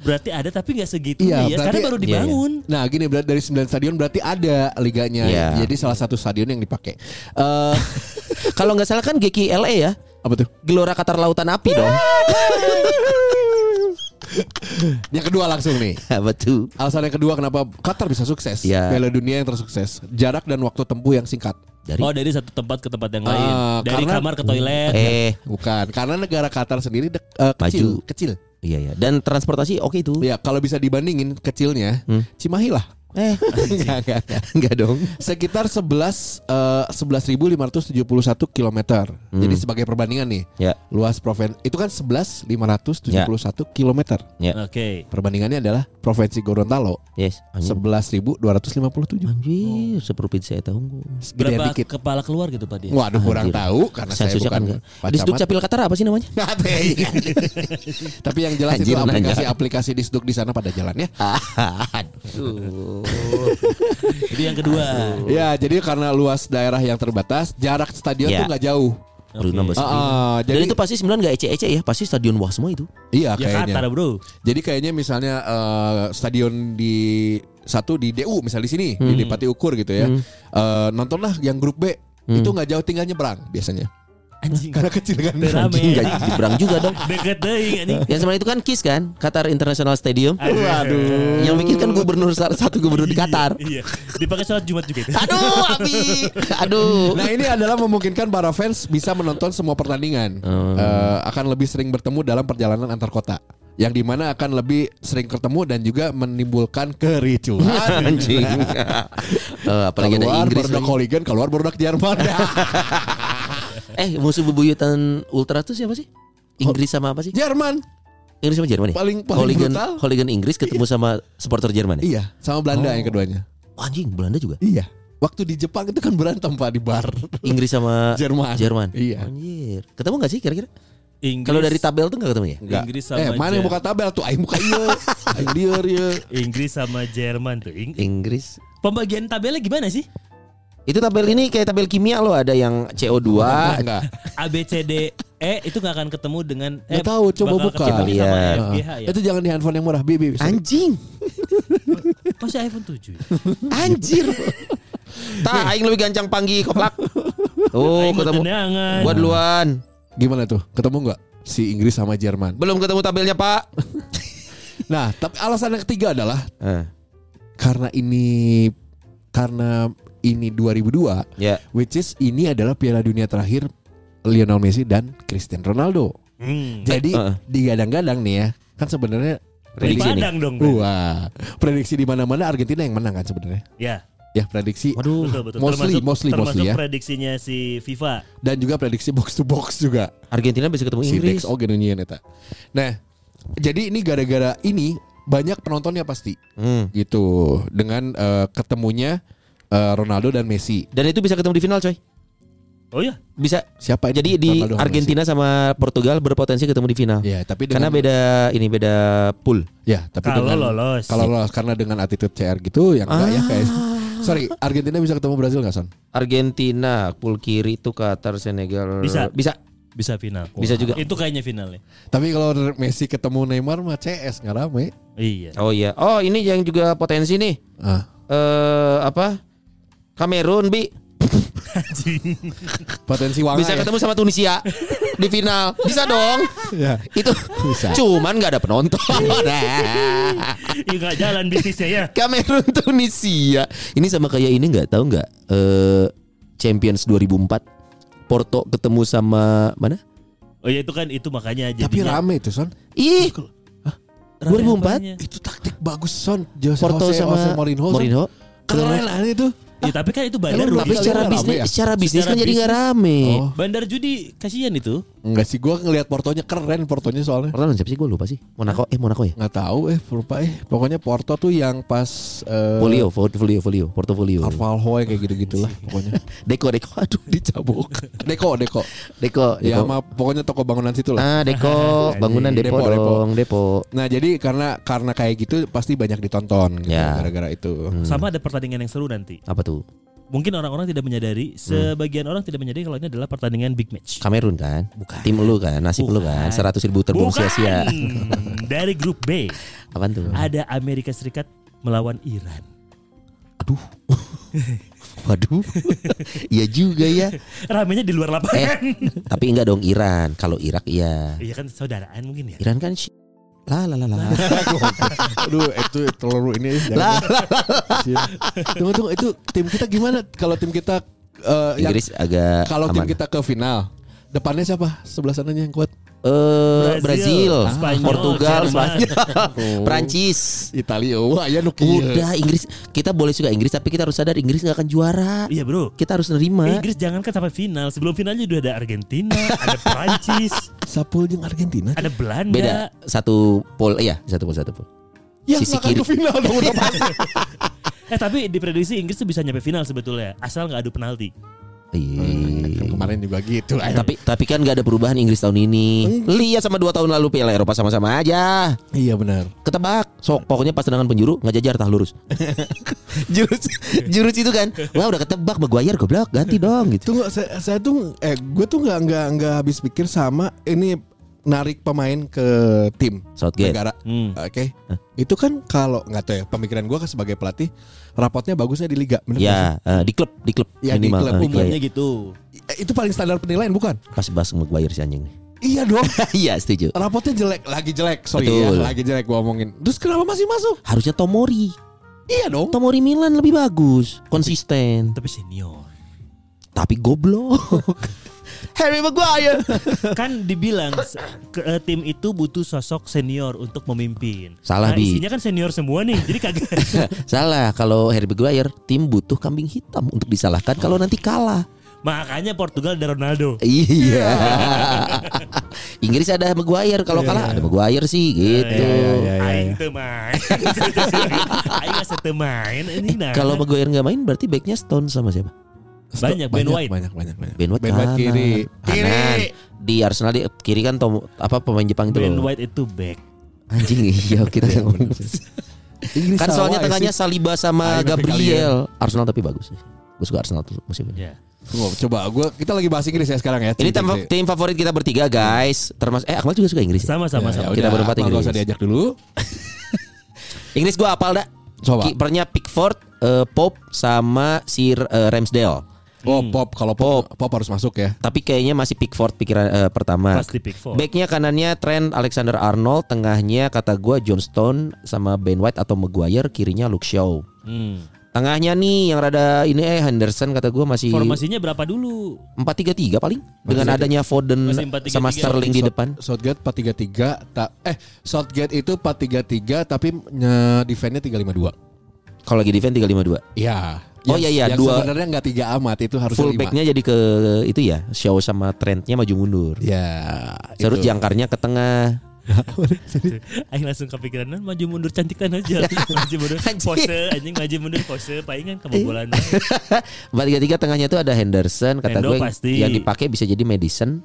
[SPEAKER 3] Berarti,
[SPEAKER 4] ada
[SPEAKER 5] Hmm.
[SPEAKER 3] ada tapi nggak segitunya
[SPEAKER 4] Iya,
[SPEAKER 3] ya. Karena
[SPEAKER 4] berarti-
[SPEAKER 3] baru
[SPEAKER 5] Iya, iya.
[SPEAKER 3] dibangun.
[SPEAKER 4] Nah gini berarti dari 9 stadion berarti ada liganya
[SPEAKER 5] Iya.
[SPEAKER 4] Jadi salah satu stadion yang dipakai Eh,
[SPEAKER 5] Kalau nggak salah kan GKLE ya,
[SPEAKER 4] Apa tuh?
[SPEAKER 5] Gelora Qatar Lautan Api dong.
[SPEAKER 4] Yang kedua langsung nih
[SPEAKER 5] Betul.
[SPEAKER 4] Alasan yang kedua kenapa Qatar bisa sukses
[SPEAKER 5] Ya.
[SPEAKER 4] Piala dunia yang tersukses Jarak dan waktu tempuh yang singkat
[SPEAKER 5] Dari
[SPEAKER 3] Oh dari satu tempat ke tempat yang
[SPEAKER 4] Ah,
[SPEAKER 3] lain. Dari
[SPEAKER 4] karena-
[SPEAKER 3] kamar ke
[SPEAKER 4] Iya,
[SPEAKER 3] toilet.
[SPEAKER 5] eh
[SPEAKER 4] Bukan Karena negara Qatar sendiri dek- eh, kecil
[SPEAKER 5] Maju.
[SPEAKER 4] Kecil
[SPEAKER 5] iya ya. Dan transportasi oke itu.
[SPEAKER 4] Ya kalau bisa dibandingin kecilnya Cimahi lah
[SPEAKER 5] Hmm. Eh
[SPEAKER 4] Enggak, enggak, enggak.
[SPEAKER 5] enggak dong.
[SPEAKER 4] Sekitar 11 eh, 11.571 kilometer.
[SPEAKER 5] Hmm.
[SPEAKER 4] Jadi sebagai perbandingan nih,
[SPEAKER 5] Ya.
[SPEAKER 4] luas provinsi itu kan 11.571 kilometer.
[SPEAKER 5] Ya.
[SPEAKER 3] Oke.
[SPEAKER 4] Perbandingannya adalah provinsi Gorontalo
[SPEAKER 5] Yes. Anjir.
[SPEAKER 4] 11.257.
[SPEAKER 5] Anjir, seprovinsi eta unggul.
[SPEAKER 4] Gedean
[SPEAKER 3] Berapa
[SPEAKER 4] dikit.
[SPEAKER 3] kepala keluar gitu Pak dia?
[SPEAKER 4] Waduh kurang
[SPEAKER 5] Anjir.
[SPEAKER 4] tahu karena saya bukan
[SPEAKER 5] Sensusnya kan enggak.
[SPEAKER 4] Pak
[SPEAKER 5] Disduk
[SPEAKER 4] Camat.
[SPEAKER 5] Capil Qatar apa sih namanya?
[SPEAKER 4] ya? Tapi yang jelas
[SPEAKER 5] Anjir,
[SPEAKER 4] itu
[SPEAKER 5] nanya.
[SPEAKER 4] aplikasi-aplikasi disduk di sana pada ya. jalannya.
[SPEAKER 5] Aduh.
[SPEAKER 3] Jadi yang kedua.
[SPEAKER 4] Ya, jadi karena luas daerah yang terbatas, jarak stadion
[SPEAKER 5] Ya.
[SPEAKER 4] tuh nggak jauh.
[SPEAKER 5] Perlu
[SPEAKER 4] Ah,
[SPEAKER 5] nambah sembilan.
[SPEAKER 4] ah,
[SPEAKER 5] Dan
[SPEAKER 4] jadi
[SPEAKER 5] itu pasti 9 gak ece-ece ya Pasti stadion wah semua itu
[SPEAKER 4] iya
[SPEAKER 3] Ya
[SPEAKER 4] kayaknya.
[SPEAKER 3] Qatar bro.
[SPEAKER 4] Jadi kayaknya misalnya eh, stadion di satu di DU misalnya di sini di
[SPEAKER 5] Hmm.
[SPEAKER 4] Depati Ukur gitu ya. Eh, nontonlah yang grup B
[SPEAKER 5] Hmm.
[SPEAKER 4] itu nggak jauh tinggal nyebrang biasanya.
[SPEAKER 3] Anjing.
[SPEAKER 4] Karena kecil kan.
[SPEAKER 3] Teu rame.
[SPEAKER 5] Anjing gak diberang juga dong
[SPEAKER 3] Deket deh anjing.
[SPEAKER 5] Yang sebenarnya itu kan KIS kan Qatar International Stadium
[SPEAKER 3] Waduh.
[SPEAKER 5] Yang bikin kan gubernur salah Satu gubernur di Qatar
[SPEAKER 3] Iya. Dipakai sholat Jumat juga itu.
[SPEAKER 5] Aduh Abi Aduh
[SPEAKER 4] Nah ini adalah memungkinkan para fans bisa menonton semua pertandingan
[SPEAKER 5] Hmm.
[SPEAKER 4] Eh, akan lebih sering bertemu dalam perjalanan antar kota yang dimana akan lebih sering ketemu dan juga menimbulkan kericuhan.
[SPEAKER 5] Anjing Eh, Hmm. Apalagi ada
[SPEAKER 4] keluar
[SPEAKER 5] Inggris
[SPEAKER 4] baru
[SPEAKER 5] lagi.
[SPEAKER 4] Holigan, keluar baru Jerman.
[SPEAKER 5] Eh musuh bebuyutan Ultra tuh siapa sih? Inggris sama apa sih?
[SPEAKER 4] Jerman.
[SPEAKER 5] Inggris sama Jerman ya?
[SPEAKER 4] Paling paling
[SPEAKER 5] hooligan,
[SPEAKER 4] brutal.
[SPEAKER 5] hooligan Inggris ketemu sama supporter Jerman ya?
[SPEAKER 4] Iya, sama Belanda yang keduanya.
[SPEAKER 5] Wah, anjing Belanda juga.
[SPEAKER 4] Iya. Waktu di Jepang itu kan berantem Pak di bar.
[SPEAKER 5] Inggris sama
[SPEAKER 4] Jerman.
[SPEAKER 5] Jerman.
[SPEAKER 4] Iya.
[SPEAKER 5] Anjir. Ketemu gak sih kira-kira?
[SPEAKER 3] Inggris,
[SPEAKER 5] Kalau dari tabel tuh gak ketemu ya?
[SPEAKER 4] Enggak.
[SPEAKER 3] Inggris sama
[SPEAKER 4] eh, mana yang
[SPEAKER 3] Jer-
[SPEAKER 4] buka tabel tuh? Aing buka iya. Aing iya. dia dia.
[SPEAKER 3] Inggris sama Jerman tuh. Ing-
[SPEAKER 5] Inggris.
[SPEAKER 3] Pembagian tabelnya gimana sih?
[SPEAKER 5] Itu tabel ini kayak tabel kimia loh ada yang CO2.
[SPEAKER 4] Enggak.
[SPEAKER 3] A B C D E itu nggak akan ketemu dengan eh,
[SPEAKER 4] Nggak tahu, coba
[SPEAKER 3] bakal
[SPEAKER 4] buka. Iya.
[SPEAKER 3] ketemu sama
[SPEAKER 5] Lihat.
[SPEAKER 3] F, G, H ya.
[SPEAKER 4] Eh, Itu jangan di handphone yang murah, Bibi.
[SPEAKER 5] Anjing.
[SPEAKER 3] Masih Oh, iPhone ya? 7.
[SPEAKER 5] Anjir. Tah aing lebih gancang panggi koplak. Tuh
[SPEAKER 4] Oh,
[SPEAKER 3] Aing mau
[SPEAKER 5] ketemu.
[SPEAKER 3] tendangan.
[SPEAKER 5] Gua duluan.
[SPEAKER 4] Gimana tuh? Ketemu nggak si Inggris sama Jerman?
[SPEAKER 5] Belum ketemu tabelnya, Pak.
[SPEAKER 4] Nah, tapi alasan yang ketiga adalah
[SPEAKER 5] Eh,
[SPEAKER 4] karena ini karena ini 2002
[SPEAKER 5] ya.
[SPEAKER 4] which is ini adalah Piala Dunia terakhir Lionel Messi dan Cristiano Ronaldo.
[SPEAKER 3] Hmm.
[SPEAKER 4] Jadi
[SPEAKER 5] Eh, eh.
[SPEAKER 4] digadang-gadang nih ya, kan sebenarnya
[SPEAKER 3] Di
[SPEAKER 5] Prediksi nih.
[SPEAKER 3] Padang dong. Bro.
[SPEAKER 4] wah, prediksi di mana-mana Argentina yang menang kan sebenarnya.
[SPEAKER 3] Ya.
[SPEAKER 4] Ya, prediksi
[SPEAKER 5] Waduh.
[SPEAKER 3] Betul betul.
[SPEAKER 4] mostly,
[SPEAKER 3] termasuk
[SPEAKER 4] mostly,
[SPEAKER 3] termasuk
[SPEAKER 4] mostly ya.
[SPEAKER 3] prediksinya si FIFA.
[SPEAKER 4] dan juga prediksi box to box juga.
[SPEAKER 5] Argentina bisa ketemu Oh,
[SPEAKER 4] Si
[SPEAKER 5] Inggris.
[SPEAKER 4] oh. Dex Ogen nyanyian eta. Nah, jadi ini gara-gara ini banyak penontonnya pasti
[SPEAKER 5] Hmm.
[SPEAKER 4] gitu dengan eh, ketemunya eh, Ronaldo dan Messi.
[SPEAKER 5] Dan itu bisa ketemu di final, coy.
[SPEAKER 3] Oh ya.
[SPEAKER 5] Bisa.
[SPEAKER 4] Siapa ini?
[SPEAKER 5] Jadi di
[SPEAKER 4] Ronaldo sama
[SPEAKER 5] Argentina sama Portugal berpotensi ketemu di final.
[SPEAKER 4] Messi. Ya, tapi
[SPEAKER 5] Karena
[SPEAKER 4] dengan-
[SPEAKER 5] beda ini beda pool.
[SPEAKER 4] Ya, tapi
[SPEAKER 3] Kalau
[SPEAKER 5] Gitu kan.
[SPEAKER 4] dengan-
[SPEAKER 3] lolos.
[SPEAKER 4] Kalau lolos karena dengan attitude CR gitu yang enggak ya
[SPEAKER 5] Ah.
[SPEAKER 4] guys. Sorry, Argentina bisa ketemu Brazil nggak Son?
[SPEAKER 5] Argentina, pool kiri itu Qatar, Senegal.
[SPEAKER 3] Bisa.
[SPEAKER 5] Bisa.
[SPEAKER 3] bisa final.
[SPEAKER 5] Bisa juga.
[SPEAKER 3] Itu kayaknya finalnya.
[SPEAKER 4] Tapi kalau Messi ketemu Neymar mah CS nggak rame.
[SPEAKER 3] Iya.
[SPEAKER 5] Oh iya. Oh, ini yang juga potensi nih.
[SPEAKER 4] Ah,
[SPEAKER 5] Eh apa? Kamerun, Bi.
[SPEAKER 4] potensi ya. wangi.
[SPEAKER 5] bisa ketemu sama Tunisia di final. Bisa dong.
[SPEAKER 4] Ya.
[SPEAKER 5] Itu
[SPEAKER 4] Bisa.
[SPEAKER 5] cuman nggak ada penonton. Nah,
[SPEAKER 3] Iya nggak jalan bisnisnya ya.
[SPEAKER 5] Kamerun Tunisia. Ini sama kayak ini nggak tahu nggak? Eh Champions 2004 Porto ketemu sama mana?
[SPEAKER 3] Oh ya itu kan itu makanya
[SPEAKER 4] Tapi
[SPEAKER 3] jadinya.
[SPEAKER 4] rame itu Son.
[SPEAKER 5] Ih,
[SPEAKER 3] rame
[SPEAKER 5] 2004?
[SPEAKER 3] apanya?
[SPEAKER 4] Itu taktik bagus Son. Jose,
[SPEAKER 5] Porto
[SPEAKER 4] Jose-
[SPEAKER 5] sama
[SPEAKER 4] Jose Mourinho. Son.
[SPEAKER 5] Mourinho.
[SPEAKER 4] Keren lah itu.
[SPEAKER 3] Ya, tapi kan itu bandar
[SPEAKER 4] Emang Tapi
[SPEAKER 5] Tapi
[SPEAKER 3] rugi.
[SPEAKER 5] secara
[SPEAKER 4] rame
[SPEAKER 5] bisnis,
[SPEAKER 4] ya?
[SPEAKER 5] secara bisnis
[SPEAKER 3] Secara
[SPEAKER 5] kan jadi nggak
[SPEAKER 3] bisnis.
[SPEAKER 5] rame.
[SPEAKER 4] Oh.
[SPEAKER 3] Bandar judi kasihan itu.
[SPEAKER 4] Enggak sih gua ngelihat Portonya keren Portonya soalnya.
[SPEAKER 5] Porto lawan siapa sih gue lupa sih. Monaco, eh Monaco ya.
[SPEAKER 4] Nggak tahu eh lupa eh. Pokoknya Porto tuh yang pas eh,
[SPEAKER 5] Folio, folio, folio, portofolio.
[SPEAKER 4] Carvalho yang kayak gitu-gitu lah pokoknya.
[SPEAKER 5] Deko, Deko, aduh dicabuk.
[SPEAKER 4] Deko, Deko.
[SPEAKER 5] Deko, Deko.
[SPEAKER 4] Ya sama pokoknya toko bangunan situ lah.
[SPEAKER 5] Ah, Deko, bangunan Depo,
[SPEAKER 4] Depo, Depo.
[SPEAKER 5] dong, Depo.
[SPEAKER 4] Nah jadi karena karena kayak gitu pasti banyak ditonton gitu,
[SPEAKER 5] Ya.
[SPEAKER 4] gara-gara itu.
[SPEAKER 3] Sama ada pertandingan yang seru nanti.
[SPEAKER 5] Apa tuh?
[SPEAKER 3] Mungkin orang-orang tidak menyadari,
[SPEAKER 5] Hmm.
[SPEAKER 3] sebagian orang tidak menyadari kalau ini adalah pertandingan big match.
[SPEAKER 5] Kamerun kan? Tim lu kan, nasib lu kan, 100 ribu terbuang sia-sia.
[SPEAKER 3] Dari grup B
[SPEAKER 5] Apaan tuh?
[SPEAKER 3] ada Amerika Serikat melawan Iran.
[SPEAKER 5] Aduh. Waduh. Iya juga ya.
[SPEAKER 3] Ramenya di luar
[SPEAKER 5] Eh,
[SPEAKER 3] lapangan.
[SPEAKER 5] tapi enggak dong Iran. Kalau Irak iya.
[SPEAKER 3] Iya kan saudaraan mungkin ya.
[SPEAKER 5] Iran kan syi- lah lah lah lah.
[SPEAKER 4] Aduh itu terlalu ini.
[SPEAKER 5] Lah,
[SPEAKER 4] Tunggu tunggu itu tim kita gimana? Kalau tim kita eh, yang-
[SPEAKER 5] Inggris agak
[SPEAKER 4] kalau tim
[SPEAKER 5] aman.
[SPEAKER 4] kita ke final, depannya siapa? Sebelah sananya yang kuat.
[SPEAKER 5] Eh,
[SPEAKER 3] Brazil,
[SPEAKER 5] Brazil,
[SPEAKER 3] Spanyol,
[SPEAKER 5] Portugal,
[SPEAKER 3] Jerman.
[SPEAKER 5] Spanyol, Prancis.
[SPEAKER 4] Italia, wah ya nu kieu.
[SPEAKER 5] Udah Inggris, kita boleh suka Inggris tapi kita harus sadar Inggris nggak akan juara.
[SPEAKER 3] Iya bro.
[SPEAKER 5] Kita harus nerima.
[SPEAKER 3] Inggris jangankan sampai final. Sebelum finalnya udah ada Argentina, ada Prancis,
[SPEAKER 4] Sapul jeung Argentina.
[SPEAKER 3] ada Belanda.
[SPEAKER 5] Beda satu pol, iya satu pol satu pol.
[SPEAKER 4] Ya
[SPEAKER 5] Sisi
[SPEAKER 4] nggak akan
[SPEAKER 5] kiri.
[SPEAKER 4] ke final dong udah pasti.
[SPEAKER 3] Eh tapi diprediksi Inggris tuh bisa nyampe final sebetulnya, asal nggak adu penalti.
[SPEAKER 5] Iya.
[SPEAKER 4] Kemarin juga gitu. ayo.
[SPEAKER 5] Tapi tapi kan nggak ada perubahan Inggris tahun ini. Lihat sama dua tahun lalu Piala Eropa sama-sama aja.
[SPEAKER 4] iya benar.
[SPEAKER 5] ketebak sok pokoknya pas tendangan penjuru nggak jajar tah lurus jurus jurus itu kan wah udah ketebak Maguire goblok ganti dong gitu
[SPEAKER 4] Tunggu saya, saya tuh eh gue tuh nggak nggak nggak habis pikir sama ini narik pemain ke tim
[SPEAKER 5] Southgate
[SPEAKER 4] negara.
[SPEAKER 3] Hmm.
[SPEAKER 4] Oke, itu kan kalau nggak tahu ya pemikiran gue sebagai pelatih rapotnya bagusnya di liga, bener nggak sih?
[SPEAKER 5] ya eh, di klub di klub
[SPEAKER 4] Ya, di
[SPEAKER 5] minimal
[SPEAKER 4] klub
[SPEAKER 5] eh,
[SPEAKER 4] umumnya
[SPEAKER 5] klub.
[SPEAKER 3] gitu.
[SPEAKER 4] Eh, Itu paling standar penilaian bukan?
[SPEAKER 5] pas bahas Maguire si anjing nih
[SPEAKER 4] Iya dong.
[SPEAKER 5] iya setuju
[SPEAKER 4] rapotnya jelek, lagi jelek, sorry
[SPEAKER 5] Betul.
[SPEAKER 4] ya, lagi jelek gue omongin. Terus kenapa masih masuk?
[SPEAKER 5] harusnya Tomori
[SPEAKER 4] Iya dong.
[SPEAKER 5] Tomori Milan lebih bagus konsisten
[SPEAKER 3] Tapi senior.
[SPEAKER 5] tapi goblok Harry Maguire
[SPEAKER 3] kan dibilang se- ke- eh, tim itu butuh sosok senior untuk memimpin.
[SPEAKER 5] Salah,
[SPEAKER 3] nah,
[SPEAKER 5] Bi.
[SPEAKER 3] Isinya kan senior semua nih, jadi kagak.
[SPEAKER 5] salah kalau Harry Maguire tim butuh kambing hitam untuk disalahkan kalau nanti kalah
[SPEAKER 3] Makanya Portugal ada Ronaldo.
[SPEAKER 5] Iya. Inggris ada Maguire kalau kalah ada Maguire sih gitu.
[SPEAKER 2] iya, iya.
[SPEAKER 3] Aing teu main. Aing asa teu main ini nah.
[SPEAKER 5] Eh, Kalau Maguire nggak main berarti backnya Stone sama siapa?
[SPEAKER 3] Banyak, Ben White.
[SPEAKER 4] Banyak banyak banyak.
[SPEAKER 5] Ben White,
[SPEAKER 4] Ben White
[SPEAKER 5] kanan.
[SPEAKER 4] kiri.
[SPEAKER 5] Kanan. Di Arsenal di kiri kan Tom, apa pemain Jepang itu
[SPEAKER 3] Ben
[SPEAKER 5] loh.
[SPEAKER 3] White itu back.
[SPEAKER 5] Anjing iya kita ngomong.
[SPEAKER 4] Inggris
[SPEAKER 5] kan soalnya
[SPEAKER 4] sawah,
[SPEAKER 5] tengahnya Saliba sama
[SPEAKER 4] Ayo, tapi
[SPEAKER 5] Gabriel. Arsenal tapi bagus. Gue suka Arsenal tuh musim ini.
[SPEAKER 3] Ya.
[SPEAKER 4] Wah, coba gua kita lagi bahas Inggris ya sekarang ya.
[SPEAKER 5] Ini
[SPEAKER 4] Tim-
[SPEAKER 5] tim,
[SPEAKER 4] tim-
[SPEAKER 5] tim favorit kita bertiga guys. Termasuk eh Akmal juga suka Inggris. ya?
[SPEAKER 3] Sama-sama
[SPEAKER 4] Ya,
[SPEAKER 3] sama.
[SPEAKER 5] Kita
[SPEAKER 4] udah,
[SPEAKER 5] berempat
[SPEAKER 4] Akmal
[SPEAKER 5] Inggris.
[SPEAKER 4] nggak usah diajak dulu.
[SPEAKER 5] Inggris gua apal dah.
[SPEAKER 4] Coba.
[SPEAKER 5] Kipernya Pickford, eh, Pope sama si eh, Ramsdale.
[SPEAKER 4] Oh,
[SPEAKER 3] Hmm.
[SPEAKER 4] pop kalau pop, pop harus masuk ya.
[SPEAKER 5] Tapi kayaknya masih Pickford pikiran eh, pertama.
[SPEAKER 3] Pasti Pickford.
[SPEAKER 5] Backnya kanannya Trent Alexander Arnold, tengahnya kata gua John Stone sama Ben White atau Maguire, kirinya Luke Shaw.
[SPEAKER 3] Hmm.
[SPEAKER 5] Tengahnya nih yang rada ini eh Henderson kata gua masih
[SPEAKER 3] Formasinya berapa dulu?
[SPEAKER 5] 4-3-3 paling dengan adanya Foden
[SPEAKER 3] Masih 4-3-3.
[SPEAKER 5] sama Sterling di
[SPEAKER 4] South-
[SPEAKER 5] depan.
[SPEAKER 4] Southgate 433 ta- eh Southgate itu 433 tapi nye, defense-nya 352.
[SPEAKER 5] Kalau lagi defense 3-5-2.
[SPEAKER 4] Iya.
[SPEAKER 5] Oh,
[SPEAKER 4] Yang-
[SPEAKER 5] iya, iya,
[SPEAKER 4] Yang
[SPEAKER 5] dua-
[SPEAKER 4] sebenarnya nggak tiga amat itu harus
[SPEAKER 5] Full backnya jadi ke itu ya, Shaw sama Trentnya maju mundur.
[SPEAKER 4] Ya.
[SPEAKER 5] Terus jangkarnya ke tengah.
[SPEAKER 3] Aing langsung kepikiran "Nah, maju mundur cantikan aja. maju mundur
[SPEAKER 5] Anjing. Iya.
[SPEAKER 3] pose anjing maju mundur pose palingan kebobolan.
[SPEAKER 5] Empat tiga tiga tengahnya itu ada Henderson kata
[SPEAKER 3] Hendo
[SPEAKER 5] gue yang-
[SPEAKER 3] pasti.
[SPEAKER 5] yang dipakai bisa jadi Madison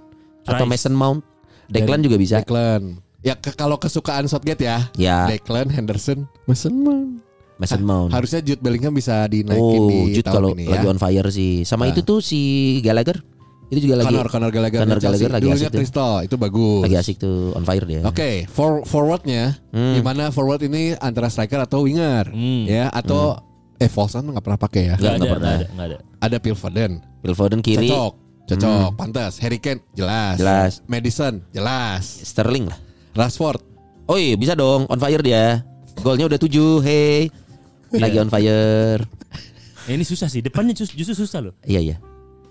[SPEAKER 5] atau
[SPEAKER 3] Rice.
[SPEAKER 5] Mason Mount. Declan juga bisa.
[SPEAKER 4] Declan. Ya ke, kalau kesukaan Southgate ya.
[SPEAKER 5] Ya,
[SPEAKER 4] Declan Henderson Mason Mount.
[SPEAKER 5] Mason
[SPEAKER 3] Ah,
[SPEAKER 5] Mount.
[SPEAKER 4] Harusnya Jude Bellingham bisa dinaikin
[SPEAKER 5] oh,
[SPEAKER 4] di
[SPEAKER 5] Jude
[SPEAKER 4] tahun
[SPEAKER 5] kalau
[SPEAKER 4] ini ya.
[SPEAKER 5] lagi on fire sih. Sama
[SPEAKER 4] Nah.
[SPEAKER 5] itu tuh si Gallagher. Itu juga lagi
[SPEAKER 4] Conor Conor Gallagher, dari
[SPEAKER 5] Conor
[SPEAKER 4] Chelsea.
[SPEAKER 5] Gallagher lagi
[SPEAKER 4] dulunya
[SPEAKER 5] asik tuh.
[SPEAKER 4] Crystal itu bagus.
[SPEAKER 5] lagi asik tuh on fire dia.
[SPEAKER 4] Oke, for, forwardnya
[SPEAKER 5] Hmm.
[SPEAKER 4] gimana forward ini antara striker atau winger
[SPEAKER 3] Hmm.
[SPEAKER 4] ya atau eh Volson nggak pernah pakai ya.
[SPEAKER 5] Hmm. Nggak,
[SPEAKER 3] Enggak ada,
[SPEAKER 5] nggak pernah.
[SPEAKER 3] enggak ada, enggak ada.
[SPEAKER 4] Ada Phil Foden,
[SPEAKER 5] Phil Foden kiri, Hmm.
[SPEAKER 4] cocok, cocok, pantas. Harry Kane jelas,
[SPEAKER 5] Jelas.
[SPEAKER 4] Madison jelas,
[SPEAKER 5] Sterling lah.
[SPEAKER 4] Rashford
[SPEAKER 5] Oh iya bisa dong on fire dia. Golnya udah tujuh, hey.
[SPEAKER 4] Iya.
[SPEAKER 5] Lagi on fire.
[SPEAKER 3] Eh, ini susah sih. Depannya jus- justru susah loh.
[SPEAKER 5] Iya iya.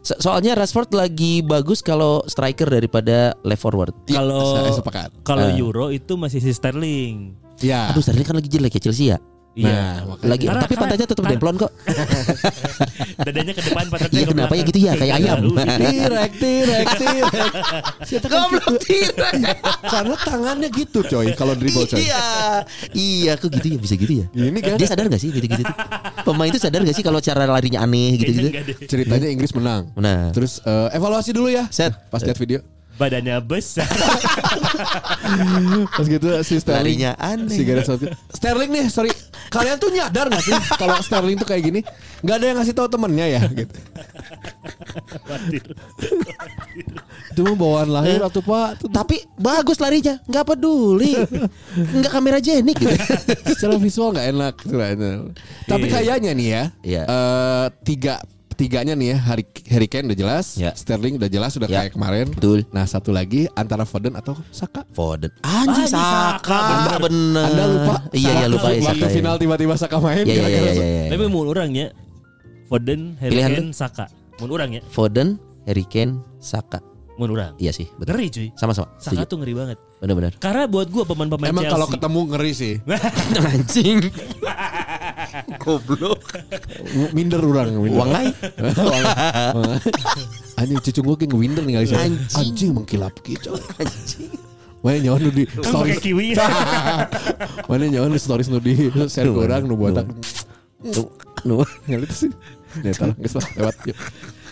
[SPEAKER 5] So- soalnya Rashford lagi bagus kalau striker daripada left forward.
[SPEAKER 4] Iya,
[SPEAKER 3] Kalau
[SPEAKER 4] saya sepakat.
[SPEAKER 3] kalau
[SPEAKER 5] Eh.
[SPEAKER 3] Euro itu masih si Sterling.
[SPEAKER 4] Ya.
[SPEAKER 5] Aduh Sterling kan lagi jelek ya Chelsea ya.
[SPEAKER 3] Iya.
[SPEAKER 4] makanya.
[SPEAKER 5] Lagi
[SPEAKER 3] Karena-
[SPEAKER 5] tapi
[SPEAKER 3] karena-
[SPEAKER 5] pantatnya tetap
[SPEAKER 3] karena-
[SPEAKER 5] demplon kok.
[SPEAKER 3] Dadanya ke depan, pantatnya
[SPEAKER 5] Iya
[SPEAKER 3] ke
[SPEAKER 5] kenapa ya
[SPEAKER 3] belakang.
[SPEAKER 5] gitu ya kayak ayam.
[SPEAKER 3] Iya.
[SPEAKER 5] iya.
[SPEAKER 4] Tirek, tirek, tirek. Siapa kan gitu? Karena tangannya gitu, coy. Kalau dribble, coy.
[SPEAKER 5] Iya. Iya kok gitu ya bisa gitu ya.
[SPEAKER 4] Ini kan
[SPEAKER 5] Dia sadar gak sih gitu-gitu tuh? Pemain itu sadar gak sih kalau cara larinya
[SPEAKER 3] Kayaknya
[SPEAKER 5] aneh gitu-gitu?
[SPEAKER 3] nggak deh.
[SPEAKER 4] ceritanya Inggris menang.
[SPEAKER 5] Nah.
[SPEAKER 4] Terus eh, evaluasi dulu ya.
[SPEAKER 5] Set.
[SPEAKER 4] Pas lihat video.
[SPEAKER 3] Badannya besar.
[SPEAKER 4] Pas gitu si Sterling.
[SPEAKER 5] Larinya aneh.
[SPEAKER 4] Si Gareth Southgate. Sterling nih, sorry. Kalian tuh nyadar gak sih kalau Sterling tuh kayak gini? Gak ada yang ngasih tahu temennya ya gitu.
[SPEAKER 3] Khawatir.
[SPEAKER 4] Itu mah bawaan lahir atau Pak. Itu
[SPEAKER 5] Tapi bagus larinya, nggak peduli, nggak kamera jenik gitu.
[SPEAKER 4] secara visual nggak enak sebenarnya. Tapi kayaknya nih ya
[SPEAKER 5] Iya.
[SPEAKER 4] eh, tiga tiganya nih ya Harry, Harry Kane udah jelas
[SPEAKER 5] Ya.
[SPEAKER 4] Sterling udah jelas udah
[SPEAKER 5] Ya,
[SPEAKER 4] kayak kemarin
[SPEAKER 5] betul.
[SPEAKER 4] nah satu lagi antara Foden atau Saka
[SPEAKER 5] Foden,
[SPEAKER 3] Anjing,
[SPEAKER 5] anjing Saka,
[SPEAKER 3] Saka,
[SPEAKER 5] bener.
[SPEAKER 4] Anda lupa
[SPEAKER 5] Iya iya
[SPEAKER 4] Saka
[SPEAKER 5] lupa ya
[SPEAKER 4] waktu
[SPEAKER 5] Saka. ya.
[SPEAKER 4] final tiba-tiba Saka main
[SPEAKER 5] Iya iya iya
[SPEAKER 4] gara-gara
[SPEAKER 5] iya. iya.
[SPEAKER 3] Tapi mau orangnya Foden, Harry
[SPEAKER 5] Pilihan
[SPEAKER 3] Kane, Saka. ya? Mau orangnya,
[SPEAKER 5] Foden, Harry Kane, Saka.
[SPEAKER 3] mau orang.
[SPEAKER 5] Iya sih, betul.
[SPEAKER 3] Ngeri cuy.
[SPEAKER 5] Sama-sama.
[SPEAKER 3] Saka
[SPEAKER 5] Setuju.
[SPEAKER 3] tuh ngeri banget.
[SPEAKER 5] Benar-benar.
[SPEAKER 3] Karena buat gua pemain-pemain
[SPEAKER 4] Emang
[SPEAKER 3] Chelsea.
[SPEAKER 4] kalau ketemu ngeri sih
[SPEAKER 5] Anjing. Goblok.
[SPEAKER 4] Minder orang minder.
[SPEAKER 5] Uang lain.
[SPEAKER 4] Anjing cucu gue kayak ngewinder nih kali sih
[SPEAKER 5] Anjing.
[SPEAKER 4] Anjing mengkilap gitu Mana nyawa nu di
[SPEAKER 3] Kan pakai
[SPEAKER 4] stories
[SPEAKER 3] kiwi.
[SPEAKER 4] Mana nyawa nu stories nu di share ke orang nu botak
[SPEAKER 5] Nu-
[SPEAKER 4] Ngelit sih Nyata lah, geus lah, lewat yuk.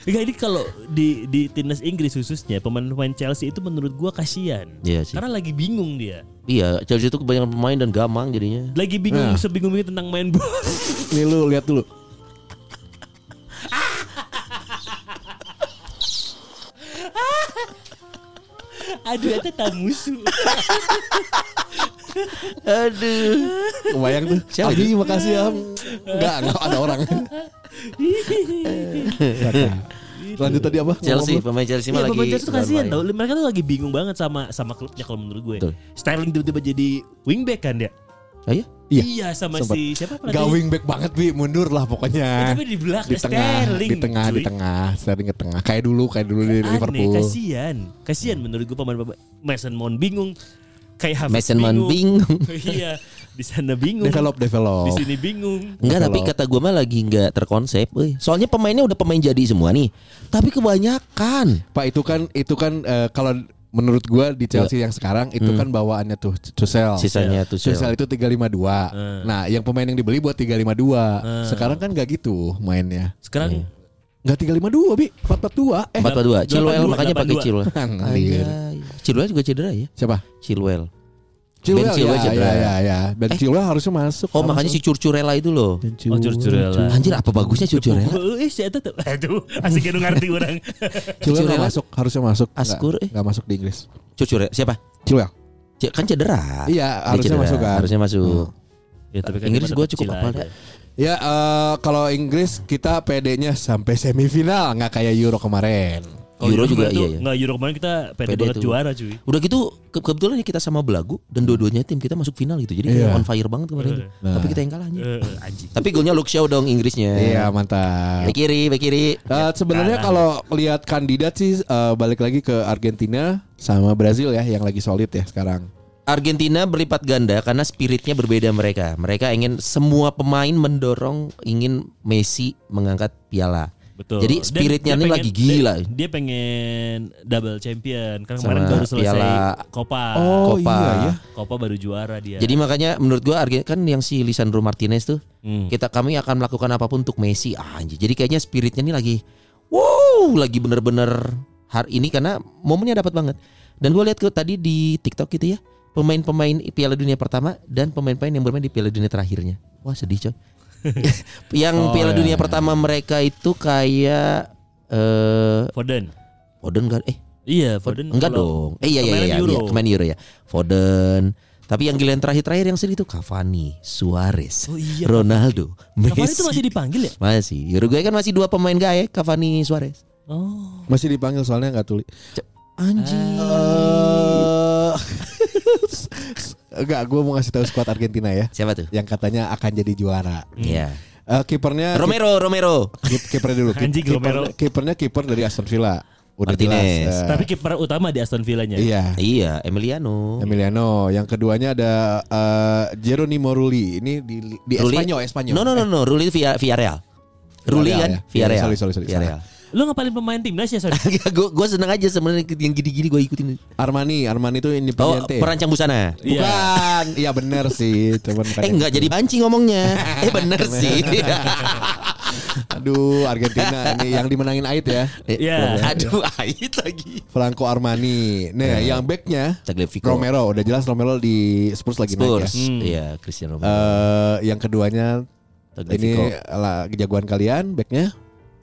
[SPEAKER 3] Enggak ini kalau di di timnas Inggris khususnya pemain-pemain Chelsea itu menurut gua kasihan.
[SPEAKER 5] Iya sih.
[SPEAKER 3] Karena lagi bingung dia.
[SPEAKER 5] Iya, Chelsea itu kebanyakan pemain dan gamang jadinya.
[SPEAKER 3] Lagi bingung
[SPEAKER 4] Nah.
[SPEAKER 3] sebingung ini tentang main bola.
[SPEAKER 4] Nih lu lihat dulu.
[SPEAKER 3] Aduh, itu tak musuh.
[SPEAKER 5] Aduh.
[SPEAKER 4] Kebayang tuh.
[SPEAKER 5] Siapa
[SPEAKER 4] Abi makasih ya. Enggak, enggak ada orang. Lanjut tadi apa?
[SPEAKER 5] Chelsea,
[SPEAKER 4] Ngomong
[SPEAKER 5] pemain
[SPEAKER 3] Iya,
[SPEAKER 5] Chelsea mah lagi.
[SPEAKER 3] pemain Chelsea tuh kasihan
[SPEAKER 5] lumayan.
[SPEAKER 3] tau. Mereka tuh lagi bingung banget sama sama klubnya kalau menurut gue.
[SPEAKER 5] Betul.
[SPEAKER 3] Sterling tiba-tiba jadi wingback kan dia.
[SPEAKER 5] Ah, iya?
[SPEAKER 4] Iya,
[SPEAKER 3] iya sama
[SPEAKER 4] sempat.
[SPEAKER 3] si siapa Eh,
[SPEAKER 4] lu. Gak wing back banget bi, mundur lah pokoknya.
[SPEAKER 3] Tapi di belakang
[SPEAKER 4] eh, Di tengah,
[SPEAKER 3] Sterling.
[SPEAKER 4] di tengah, di
[SPEAKER 3] cuy.
[SPEAKER 4] tengah, Sterling ke tengah. Kayak dulu, kayak dulu di
[SPEAKER 3] Aneh,
[SPEAKER 4] Liverpool.
[SPEAKER 3] kasihan. Kasihan menurut gue pemain pemain Mason Mount bingung. Kayak Havertz
[SPEAKER 5] Mason Mount bingung.
[SPEAKER 3] iya. di sana bingung,
[SPEAKER 4] Develop, develop.
[SPEAKER 3] di sini bingung.
[SPEAKER 5] Enggak tapi
[SPEAKER 4] Kalau-
[SPEAKER 5] kata gue mah lagi nggak terkonsep. euy. Soalnya pemainnya udah pemain jadi semua nih. Tapi kebanyakan.
[SPEAKER 4] Pak itu kan itu kan eh, kalau menurut gua di Chelsea yang sekarang itu kan bawaannya tuh Tuchel.
[SPEAKER 5] Oh, Iya. Sisanya Tuchel.
[SPEAKER 4] Tuchel itu 352.
[SPEAKER 3] Eh.
[SPEAKER 4] Nah, yang pemain yang dibeli buat 352. Sekarang kan gak gitu mainnya.
[SPEAKER 3] Sekarang
[SPEAKER 4] Gak 352, Bi. 442. Eh,
[SPEAKER 5] 442. Chilwell
[SPEAKER 3] 82,
[SPEAKER 5] makanya pakai
[SPEAKER 3] 82.
[SPEAKER 5] Chilwell.
[SPEAKER 4] Anjir.
[SPEAKER 5] Anjay. Ah, iya. Chilwell juga cedera ya.
[SPEAKER 4] Siapa?
[SPEAKER 5] Chilwell.
[SPEAKER 4] Chilwell,
[SPEAKER 5] Ben Chilwell
[SPEAKER 4] ya,
[SPEAKER 5] cedera.
[SPEAKER 4] ya, ya, ya. Ben Chilwell harusnya masuk.
[SPEAKER 5] Oh makanya si Curcurella itu loh.
[SPEAKER 4] Iya.
[SPEAKER 3] oh curcurela.
[SPEAKER 5] Anjir apa bagusnya Curcurella?
[SPEAKER 3] Eh, si Eta tuh. Aduh, asik nu ngarti orang.
[SPEAKER 4] Chilwell
[SPEAKER 5] Chilwell.
[SPEAKER 4] gak masuk, harusnya masuk. Nggak-
[SPEAKER 5] Askur, eh.
[SPEAKER 4] nggak masuk di Inggris.
[SPEAKER 5] Curcurella siapa?
[SPEAKER 4] Chilwell.
[SPEAKER 5] C- Kan cedera.
[SPEAKER 4] Iya,
[SPEAKER 5] Dia
[SPEAKER 4] harusnya
[SPEAKER 5] cedera,
[SPEAKER 4] masuk kan.
[SPEAKER 5] Harusnya masuk. Hmm.
[SPEAKER 3] Ya, tapi kan
[SPEAKER 5] Inggris
[SPEAKER 3] dia
[SPEAKER 5] gua
[SPEAKER 3] tetap
[SPEAKER 5] cukup
[SPEAKER 3] chill
[SPEAKER 5] apa,
[SPEAKER 3] aja.
[SPEAKER 5] Dek?
[SPEAKER 4] Ya eh, kalau Inggris kita PD-nya sampai semifinal nggak kayak Euro kemarin.
[SPEAKER 3] Kalau
[SPEAKER 5] Euro juga,
[SPEAKER 3] kemarin tuh-
[SPEAKER 5] iya, iya.
[SPEAKER 3] Nggak Euro kemarin kita pede, Eh,
[SPEAKER 5] Pede
[SPEAKER 3] banget
[SPEAKER 5] tuh.
[SPEAKER 3] juara cuy.
[SPEAKER 5] Udah gitu ke kebetulan ya kita sama belagu dan dua-duanya tim kita masuk final gitu. Jadi kayak
[SPEAKER 4] Iya.
[SPEAKER 5] on fire banget kemarin tuh.
[SPEAKER 4] Nah.
[SPEAKER 5] Tapi kita yang kalah anjir.
[SPEAKER 3] Eh, eh, anjing.
[SPEAKER 5] Tapi golnya Luke Shaw dong Inggrisnya.
[SPEAKER 4] Iya mantap.
[SPEAKER 5] Baik kiri, baik kiri.
[SPEAKER 4] Eh, sebenarnya kalau lihat kandidat sih eh, balik lagi ke Argentina sama Brazil ya yang lagi solid ya sekarang.
[SPEAKER 5] Argentina berlipat ganda karena spiritnya berbeda mereka. Mereka ingin semua pemain mendorong ingin Messi mengangkat piala.
[SPEAKER 3] Betul.
[SPEAKER 5] Jadi
[SPEAKER 3] Dan
[SPEAKER 5] spiritnya
[SPEAKER 3] dia
[SPEAKER 5] ini
[SPEAKER 3] pengen-
[SPEAKER 5] lagi gila.
[SPEAKER 3] Dia, dia pengen double champion. Karena
[SPEAKER 5] Sama
[SPEAKER 3] kemarin baru selesai
[SPEAKER 5] piala-
[SPEAKER 3] Copa.
[SPEAKER 4] Oh,
[SPEAKER 5] Copa.
[SPEAKER 4] iya, iya.
[SPEAKER 3] Copa baru juara dia.
[SPEAKER 4] Ya.
[SPEAKER 5] Jadi makanya menurut gua Argen- kan yang si Lisandro Martinez tuh
[SPEAKER 3] Hmm.
[SPEAKER 5] kita kami akan melakukan apapun untuk Messi Ah, anjir. Jadi kayaknya spiritnya ini lagi wow, lagi bener-bener hari ini karena momennya dapat banget. Dan gua lihat ke tadi di TikTok gitu ya, pemain-pemain Piala Dunia pertama dan pemain-pemain yang bermain di Piala Dunia terakhirnya. Wah, sedih coy. yang
[SPEAKER 4] Oh,
[SPEAKER 5] Piala
[SPEAKER 4] iya,
[SPEAKER 5] Dunia
[SPEAKER 4] iya.
[SPEAKER 5] pertama mereka itu kayak eh
[SPEAKER 3] Foden.
[SPEAKER 5] Foden nggak? eh
[SPEAKER 3] Iya,
[SPEAKER 5] Foden
[SPEAKER 3] Foden.
[SPEAKER 5] enggak
[SPEAKER 3] kalau-
[SPEAKER 5] dong. Eh iya iya
[SPEAKER 3] kemarin
[SPEAKER 5] iya,
[SPEAKER 3] Euro.
[SPEAKER 5] iya kemarin Euro ya. Foden. Tapi yang giliran terakhir-terakhir yang sedih itu Cavani, Suarez,
[SPEAKER 3] Oh iya,
[SPEAKER 5] Ronaldo, Messi.
[SPEAKER 3] Kemarin itu masih dipanggil ya?
[SPEAKER 5] Masih. Uruguay kan masih dua pemain gae, Cavani, Suarez.
[SPEAKER 3] Oh.
[SPEAKER 4] Masih dipanggil soalnya nggak tuli.
[SPEAKER 5] Anjing.
[SPEAKER 4] Eh, Enggak, gue mau ngasih tahu skuad Argentina ya
[SPEAKER 5] Siapa tuh?
[SPEAKER 4] yang katanya akan jadi juara.
[SPEAKER 3] Hmm.
[SPEAKER 5] Iya.
[SPEAKER 4] Eh, kipernya
[SPEAKER 5] Romero, Romero.
[SPEAKER 4] kip- kipernya dulu. Kip-
[SPEAKER 3] Anjing,
[SPEAKER 4] kiper-
[SPEAKER 3] Romero.
[SPEAKER 4] kipernya kiper dari Aston Villa. Udah
[SPEAKER 5] Martinez.
[SPEAKER 4] jelas. Eh,
[SPEAKER 3] Tapi kiper utama di Aston Villanya.
[SPEAKER 4] iya.
[SPEAKER 5] iya, Emiliano.
[SPEAKER 4] Emiliano, yang keduanya ada eh, Jeronimo Rulli. Ini di di
[SPEAKER 5] Rulli-
[SPEAKER 4] Espanyol, Espanyol. Eh,
[SPEAKER 5] No no no no, Ruli via Villarreal. Ruli
[SPEAKER 4] Villarreal
[SPEAKER 5] kan
[SPEAKER 4] ya?
[SPEAKER 5] Villarreal.
[SPEAKER 4] Sorry, sorry, sorry.
[SPEAKER 5] Villarreal.
[SPEAKER 3] Lu ngapalin pemain timnas ya, Son?
[SPEAKER 5] gue gue seneng aja sebenarnya yang gini-gini gue ikutin.
[SPEAKER 4] Armani, Armani itu
[SPEAKER 5] Oh,
[SPEAKER 4] Independiente.
[SPEAKER 5] perancang busana.
[SPEAKER 3] Iya.
[SPEAKER 4] Bukan. Iya bener sih, cuman bukan
[SPEAKER 5] Eh
[SPEAKER 4] yang
[SPEAKER 5] enggak
[SPEAKER 4] itu.
[SPEAKER 5] jadi banci ngomongnya. Eh bener sih.
[SPEAKER 4] Aduh, Argentina ini yang dimenangin Ait ya.
[SPEAKER 3] Iya.
[SPEAKER 5] Aduh, ait lagi.
[SPEAKER 4] Franco Armani. Nah,
[SPEAKER 5] Iya.
[SPEAKER 4] yang backnya
[SPEAKER 5] Tagliafico.
[SPEAKER 4] Romero, udah jelas Romero di Spurs lagi naik ya.
[SPEAKER 5] Spurs.
[SPEAKER 3] Hmm.
[SPEAKER 5] Iya, Cristiano Ronaldo.
[SPEAKER 4] Eh, yang keduanya
[SPEAKER 5] Tagliafico.
[SPEAKER 4] ini lah, jagoan kalian backnya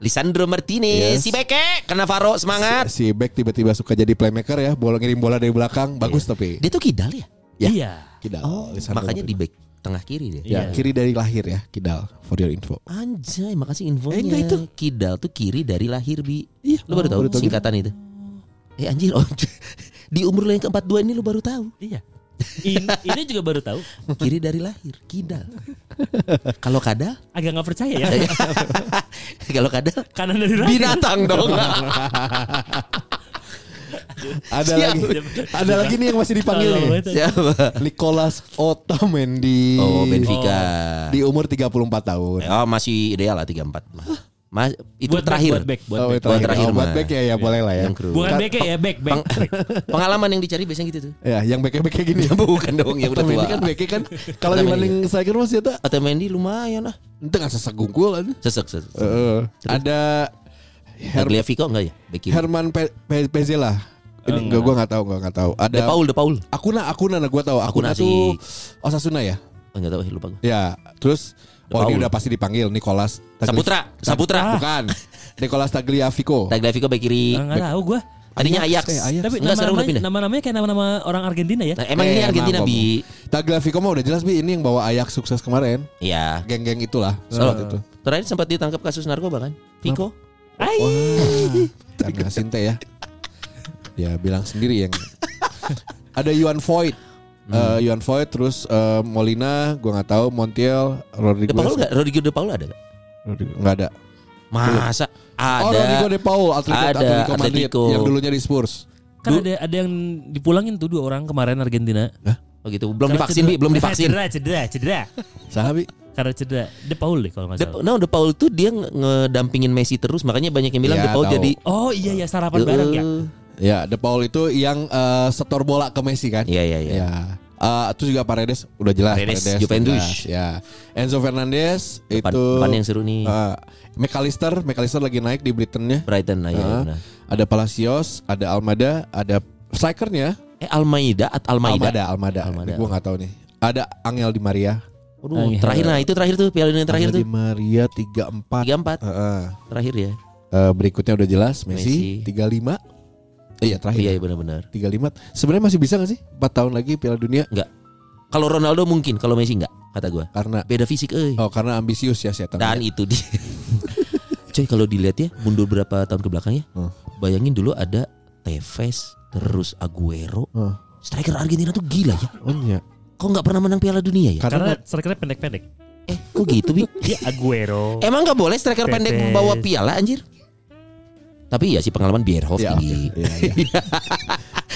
[SPEAKER 5] Lisandro Martinez,
[SPEAKER 4] Yes.
[SPEAKER 5] si Beke, kena Faro semangat.
[SPEAKER 4] si back tiba-tiba suka jadi playmaker ya bola ngirim bola dari
[SPEAKER 5] Iya.
[SPEAKER 4] belakang bagus tapi
[SPEAKER 5] Dia tuh kidal ya?
[SPEAKER 3] Iya.
[SPEAKER 4] kidal Oh, Lisandro
[SPEAKER 5] Oh, makanya di
[SPEAKER 4] Martinez.
[SPEAKER 5] back tengah kiri dia.
[SPEAKER 4] ya
[SPEAKER 3] Iya.
[SPEAKER 4] kiri dari lahir ya kidal for your info
[SPEAKER 5] Anjay, makasih infonya.
[SPEAKER 4] Eh, enggak itu.
[SPEAKER 5] Kidal tuh kiri dari lahir, Bi.
[SPEAKER 4] Iya,
[SPEAKER 5] Lu baru
[SPEAKER 4] oh,
[SPEAKER 5] tahu
[SPEAKER 4] baru tahu
[SPEAKER 5] singkatan itu. Eh anjir, oh. di umur lo yang ke-42 ini lu baru tahu.
[SPEAKER 3] Iya. Ini, ini juga baru tahu.
[SPEAKER 5] Kiri dari lahir, kidal. Kalau kadal,
[SPEAKER 3] Agak nggak percaya ya.
[SPEAKER 5] Iya. kalau kadal
[SPEAKER 3] Kanan dari kanan.
[SPEAKER 5] binatang dong.
[SPEAKER 4] ada
[SPEAKER 5] Siap.
[SPEAKER 4] lagi ada lagi nih yang masih dipanggil
[SPEAKER 3] Tolong
[SPEAKER 4] nih
[SPEAKER 3] banget.
[SPEAKER 5] Siapa?
[SPEAKER 4] Nicolas Otamendi
[SPEAKER 5] Oh, Benfica.
[SPEAKER 4] Iya. di umur 34 tahun
[SPEAKER 5] Oh masih ideal lah 34 Mas, Mas, Itu
[SPEAKER 3] Buat back,
[SPEAKER 5] terakhir iya.
[SPEAKER 3] buat back, buat
[SPEAKER 4] Oh,
[SPEAKER 3] back.
[SPEAKER 5] buat terakhir,
[SPEAKER 4] Oh, buat
[SPEAKER 5] mah.
[SPEAKER 4] back ya, ya boleh lah ya.
[SPEAKER 5] Yang kru. Kan
[SPEAKER 3] Bukan beke ya, back, back.
[SPEAKER 5] Pengalaman yang dicari biasanya gitu tuh
[SPEAKER 4] Ya, yang back back kayak gini.
[SPEAKER 5] Bukan dong yang udah
[SPEAKER 4] Otamendi
[SPEAKER 5] tua
[SPEAKER 4] kan back kan kalau
[SPEAKER 5] Otamendi.
[SPEAKER 4] dibanding kan striker masih itu
[SPEAKER 5] Atau Mendy lumayan lah
[SPEAKER 4] itu nggak sesegum gol kan.
[SPEAKER 5] Sesek sesek
[SPEAKER 4] Heeh.
[SPEAKER 5] Terus?
[SPEAKER 4] Ada Her-
[SPEAKER 5] Tagliafico enggak ya? Back kiri
[SPEAKER 4] Herman Pe Pe Pezela. Ini enggak gua enggak tahu, gua enggak tahu. Ada
[SPEAKER 5] De Paul, De Paul
[SPEAKER 4] Akuna, Akuna nah gua tahu. Akuna,
[SPEAKER 5] Akuna
[SPEAKER 4] tuh Osasuna ya?
[SPEAKER 5] oh, Enggak tahu, eh, lupa gue
[SPEAKER 4] Ya, terus Oh ini
[SPEAKER 5] Paul.
[SPEAKER 4] udah pasti dipanggil Nicolas Tagli-
[SPEAKER 5] Saputra Saputra
[SPEAKER 4] Bukan. Nicolas Tagliafico.
[SPEAKER 5] Tagliafico eh, back Iya. kiri
[SPEAKER 3] Nggak tahu gue.
[SPEAKER 5] Tadinya Ajax
[SPEAKER 4] eh, Ajax.
[SPEAKER 5] Tapi
[SPEAKER 3] Tapi
[SPEAKER 5] enggak sekarang udah
[SPEAKER 3] nama-namanya
[SPEAKER 5] pindah
[SPEAKER 3] nama-namanya kayak nama-nama orang Argentina ya.
[SPEAKER 5] Nah, Emang
[SPEAKER 4] Eh,
[SPEAKER 5] ini Argentina
[SPEAKER 4] emang,
[SPEAKER 5] Bi
[SPEAKER 4] Tagliafico mah udah jelas Bi ini yang bawa Ajax sukses kemarin.
[SPEAKER 5] Iya
[SPEAKER 4] Geng-geng itulah
[SPEAKER 5] Oh,
[SPEAKER 4] saat Eh, itu.
[SPEAKER 5] Terakhir sempat ditangkap kasus narkoba kan Vico
[SPEAKER 4] Karena Sinte ya. Ya bilang sendiri yang ada Yuan Void. Eh, Yuan Void terus eh, Molina, gua nggak tahu Montiel,
[SPEAKER 5] De
[SPEAKER 4] Rodriguez.
[SPEAKER 5] Paul enggak? Rodrigo De Paul ada enggak?
[SPEAKER 4] Rodrigo- nggak ada.
[SPEAKER 5] Masa Ada
[SPEAKER 4] Oh Rodrigo De Paul Atletico,
[SPEAKER 5] Ada,
[SPEAKER 4] Atletico Madrid
[SPEAKER 5] Atletico.
[SPEAKER 4] yang dulunya di Spurs.
[SPEAKER 3] Kan ada ada yang dipulangin tuh dua orang kemarin Argentina.
[SPEAKER 5] Oh gitu. Belum
[SPEAKER 3] Karena
[SPEAKER 5] divaksin, Bi,
[SPEAKER 3] cedera-
[SPEAKER 5] belum
[SPEAKER 3] karena
[SPEAKER 5] divaksin.
[SPEAKER 3] Cedera, cedera, cedera.
[SPEAKER 4] Sahabi.
[SPEAKER 3] Karena cedera. De Paul deh kalau nggak
[SPEAKER 5] De,
[SPEAKER 3] salah.
[SPEAKER 5] nah, De Paul tuh dia nge- ngedampingin Messi terus, makanya banyak yang bilang
[SPEAKER 4] Iya,
[SPEAKER 5] De Paul
[SPEAKER 4] tahu.
[SPEAKER 5] jadi
[SPEAKER 3] Oh iya ya sarapan bareng ya.
[SPEAKER 5] Eh,
[SPEAKER 4] Ya, De Paul itu yang eh, setor bola ke Messi kan?
[SPEAKER 5] Iya, iya, iya.
[SPEAKER 4] Ya. Eh, terus juga Paredes udah jelas
[SPEAKER 5] Paredes,
[SPEAKER 4] jelas,
[SPEAKER 5] Juventus.
[SPEAKER 4] ya. Enzo Fernandez
[SPEAKER 5] Depan,
[SPEAKER 4] itu
[SPEAKER 5] depan yang seru nih
[SPEAKER 4] eh, McAllister, McAllister lagi naik di Britainnya.
[SPEAKER 5] Brighton lah ya.
[SPEAKER 4] Eh,
[SPEAKER 5] benar.
[SPEAKER 4] ada Palacios, ada Almada, ada strikernya
[SPEAKER 5] Eh Almeida at Almeida.
[SPEAKER 4] Almada, Almada.
[SPEAKER 5] Almada.
[SPEAKER 4] Ini Gua nggak tahu nih. Ada Angel Di Maria.
[SPEAKER 5] Waduh, terakhir nah itu terakhir tuh Piala Dunia terakhir
[SPEAKER 4] Angel
[SPEAKER 5] tuh.
[SPEAKER 4] Di Maria 34.
[SPEAKER 5] 34
[SPEAKER 4] Heeh.
[SPEAKER 5] terakhir ya.
[SPEAKER 4] Eh, berikutnya udah jelas Messi,
[SPEAKER 5] Messi.
[SPEAKER 4] 35. Iya, terakhir.
[SPEAKER 5] Iya, iya benar-benar.
[SPEAKER 4] 35. Sebenarnya masih bisa gak sih 4 tahun lagi Piala Dunia
[SPEAKER 5] Kalau Ronaldo mungkin, kalau Messi enggak kata gua.
[SPEAKER 4] karena
[SPEAKER 5] Beda fisik euy.
[SPEAKER 4] oh karena ambisius ya setan.
[SPEAKER 5] Dan itu dia. Coy kalau dilihat ya mundur berapa tahun ke belakang ya.
[SPEAKER 4] Hmm.
[SPEAKER 5] Bayangin dulu ada Tevez, terus Aguero.
[SPEAKER 4] Hmm.
[SPEAKER 5] Striker Argentina tuh gila ya.
[SPEAKER 4] Oh iya.
[SPEAKER 5] Kok nggak pernah menang Piala Dunia ya?
[SPEAKER 3] Karena
[SPEAKER 4] Karena
[SPEAKER 3] strikernya pendek-pendek.
[SPEAKER 5] Eh, kok gitu, Bi?
[SPEAKER 3] Dia
[SPEAKER 4] Iya.
[SPEAKER 3] Aguero.
[SPEAKER 5] Emang nggak boleh striker
[SPEAKER 3] Tevez.
[SPEAKER 5] pendek membawa piala anjir? Tapi ya sih pengalaman Bierhoff
[SPEAKER 4] Ya,
[SPEAKER 5] tinggi.
[SPEAKER 4] oke. Iya, iya.